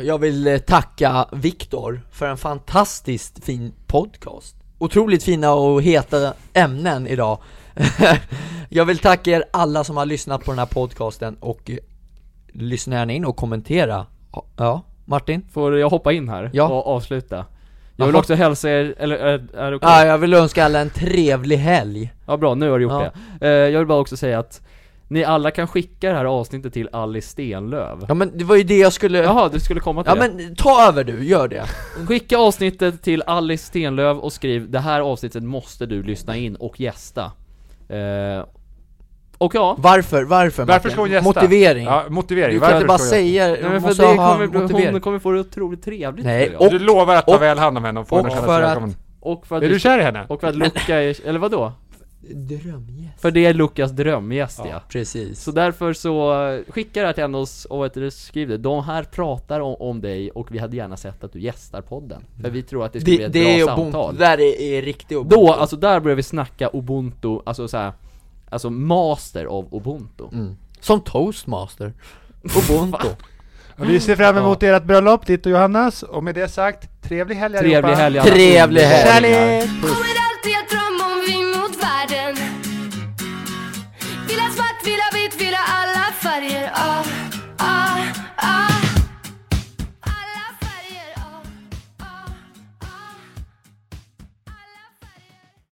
Jag vill eh, tacka Viktor för en fantastiskt fin podcast Otroligt fina och heta ämnen idag Jag vill tacka er alla som har lyssnat på den här podcasten och eh, lyssna gärna in och kommentera Ja, Martin?
Får jag hoppa in här
Ja.
och avsluta? Jag vill
Jaha.
också hälsa er, eller är, är det okej?
Ja, jag vill önska alla en trevlig helg
Ja bra, nu har du gjort
Ja.
det. Eh, jag vill bara också säga att Ni alla kan skicka det här avsnittet till Alice Stenlöv
Ja men det var ju det jag skulle... Ja,
Jaha, du skulle komma till det?
men ta över du, gör det!
Skicka avsnittet till Alice Stenlöv och skriv Det här avsnittet måste du lyssna in och gästa eh, Och ja,
Varför, varför
Varför
Martin?
ska hon gästa?
motivering!
Ja, motivering.
Du kan
Varför
inte bara
ska hon
säga,
nej,
du
men för
måste
det
ha
kommer,
en
bli- hon
motivering
kommer få det otroligt trevligt
Nej,
tror
göra?
jag.
och-
Du lovar att ta
och-
väl hand om henne och få
och
henne att känna
för
sig
att-
välkommen.
och för att
Är
du,
du kär i henne?
och för att Luca är, eller vadå?
Drömgäst
För det är Lukas drömgäst ja.
Precis
Så därför så eh, skicka det här till henne och s- och vet du, skriv det De här pratar om, om dig och vi hade gärna sett att du gästar podden För vi tror att det skulle
Det,
bli ett
det är
bra
ubuntu,
samtal
det där är, är riktig ubuntu
Då, alltså där börjar vi snacka ubuntu, alltså såhär Alltså master av ubuntu
mm. Som toastmaster Ubuntu
Och vi ser fram emot ert bröllop, ditt och Johannas. Och med det sagt, trevlig helg
Trevlig
allihopa.
helg alla
Trevlig helg.
Kärlek!
Kommer alltid att drömma om vi mot världen Vill att vara Ah, Ah,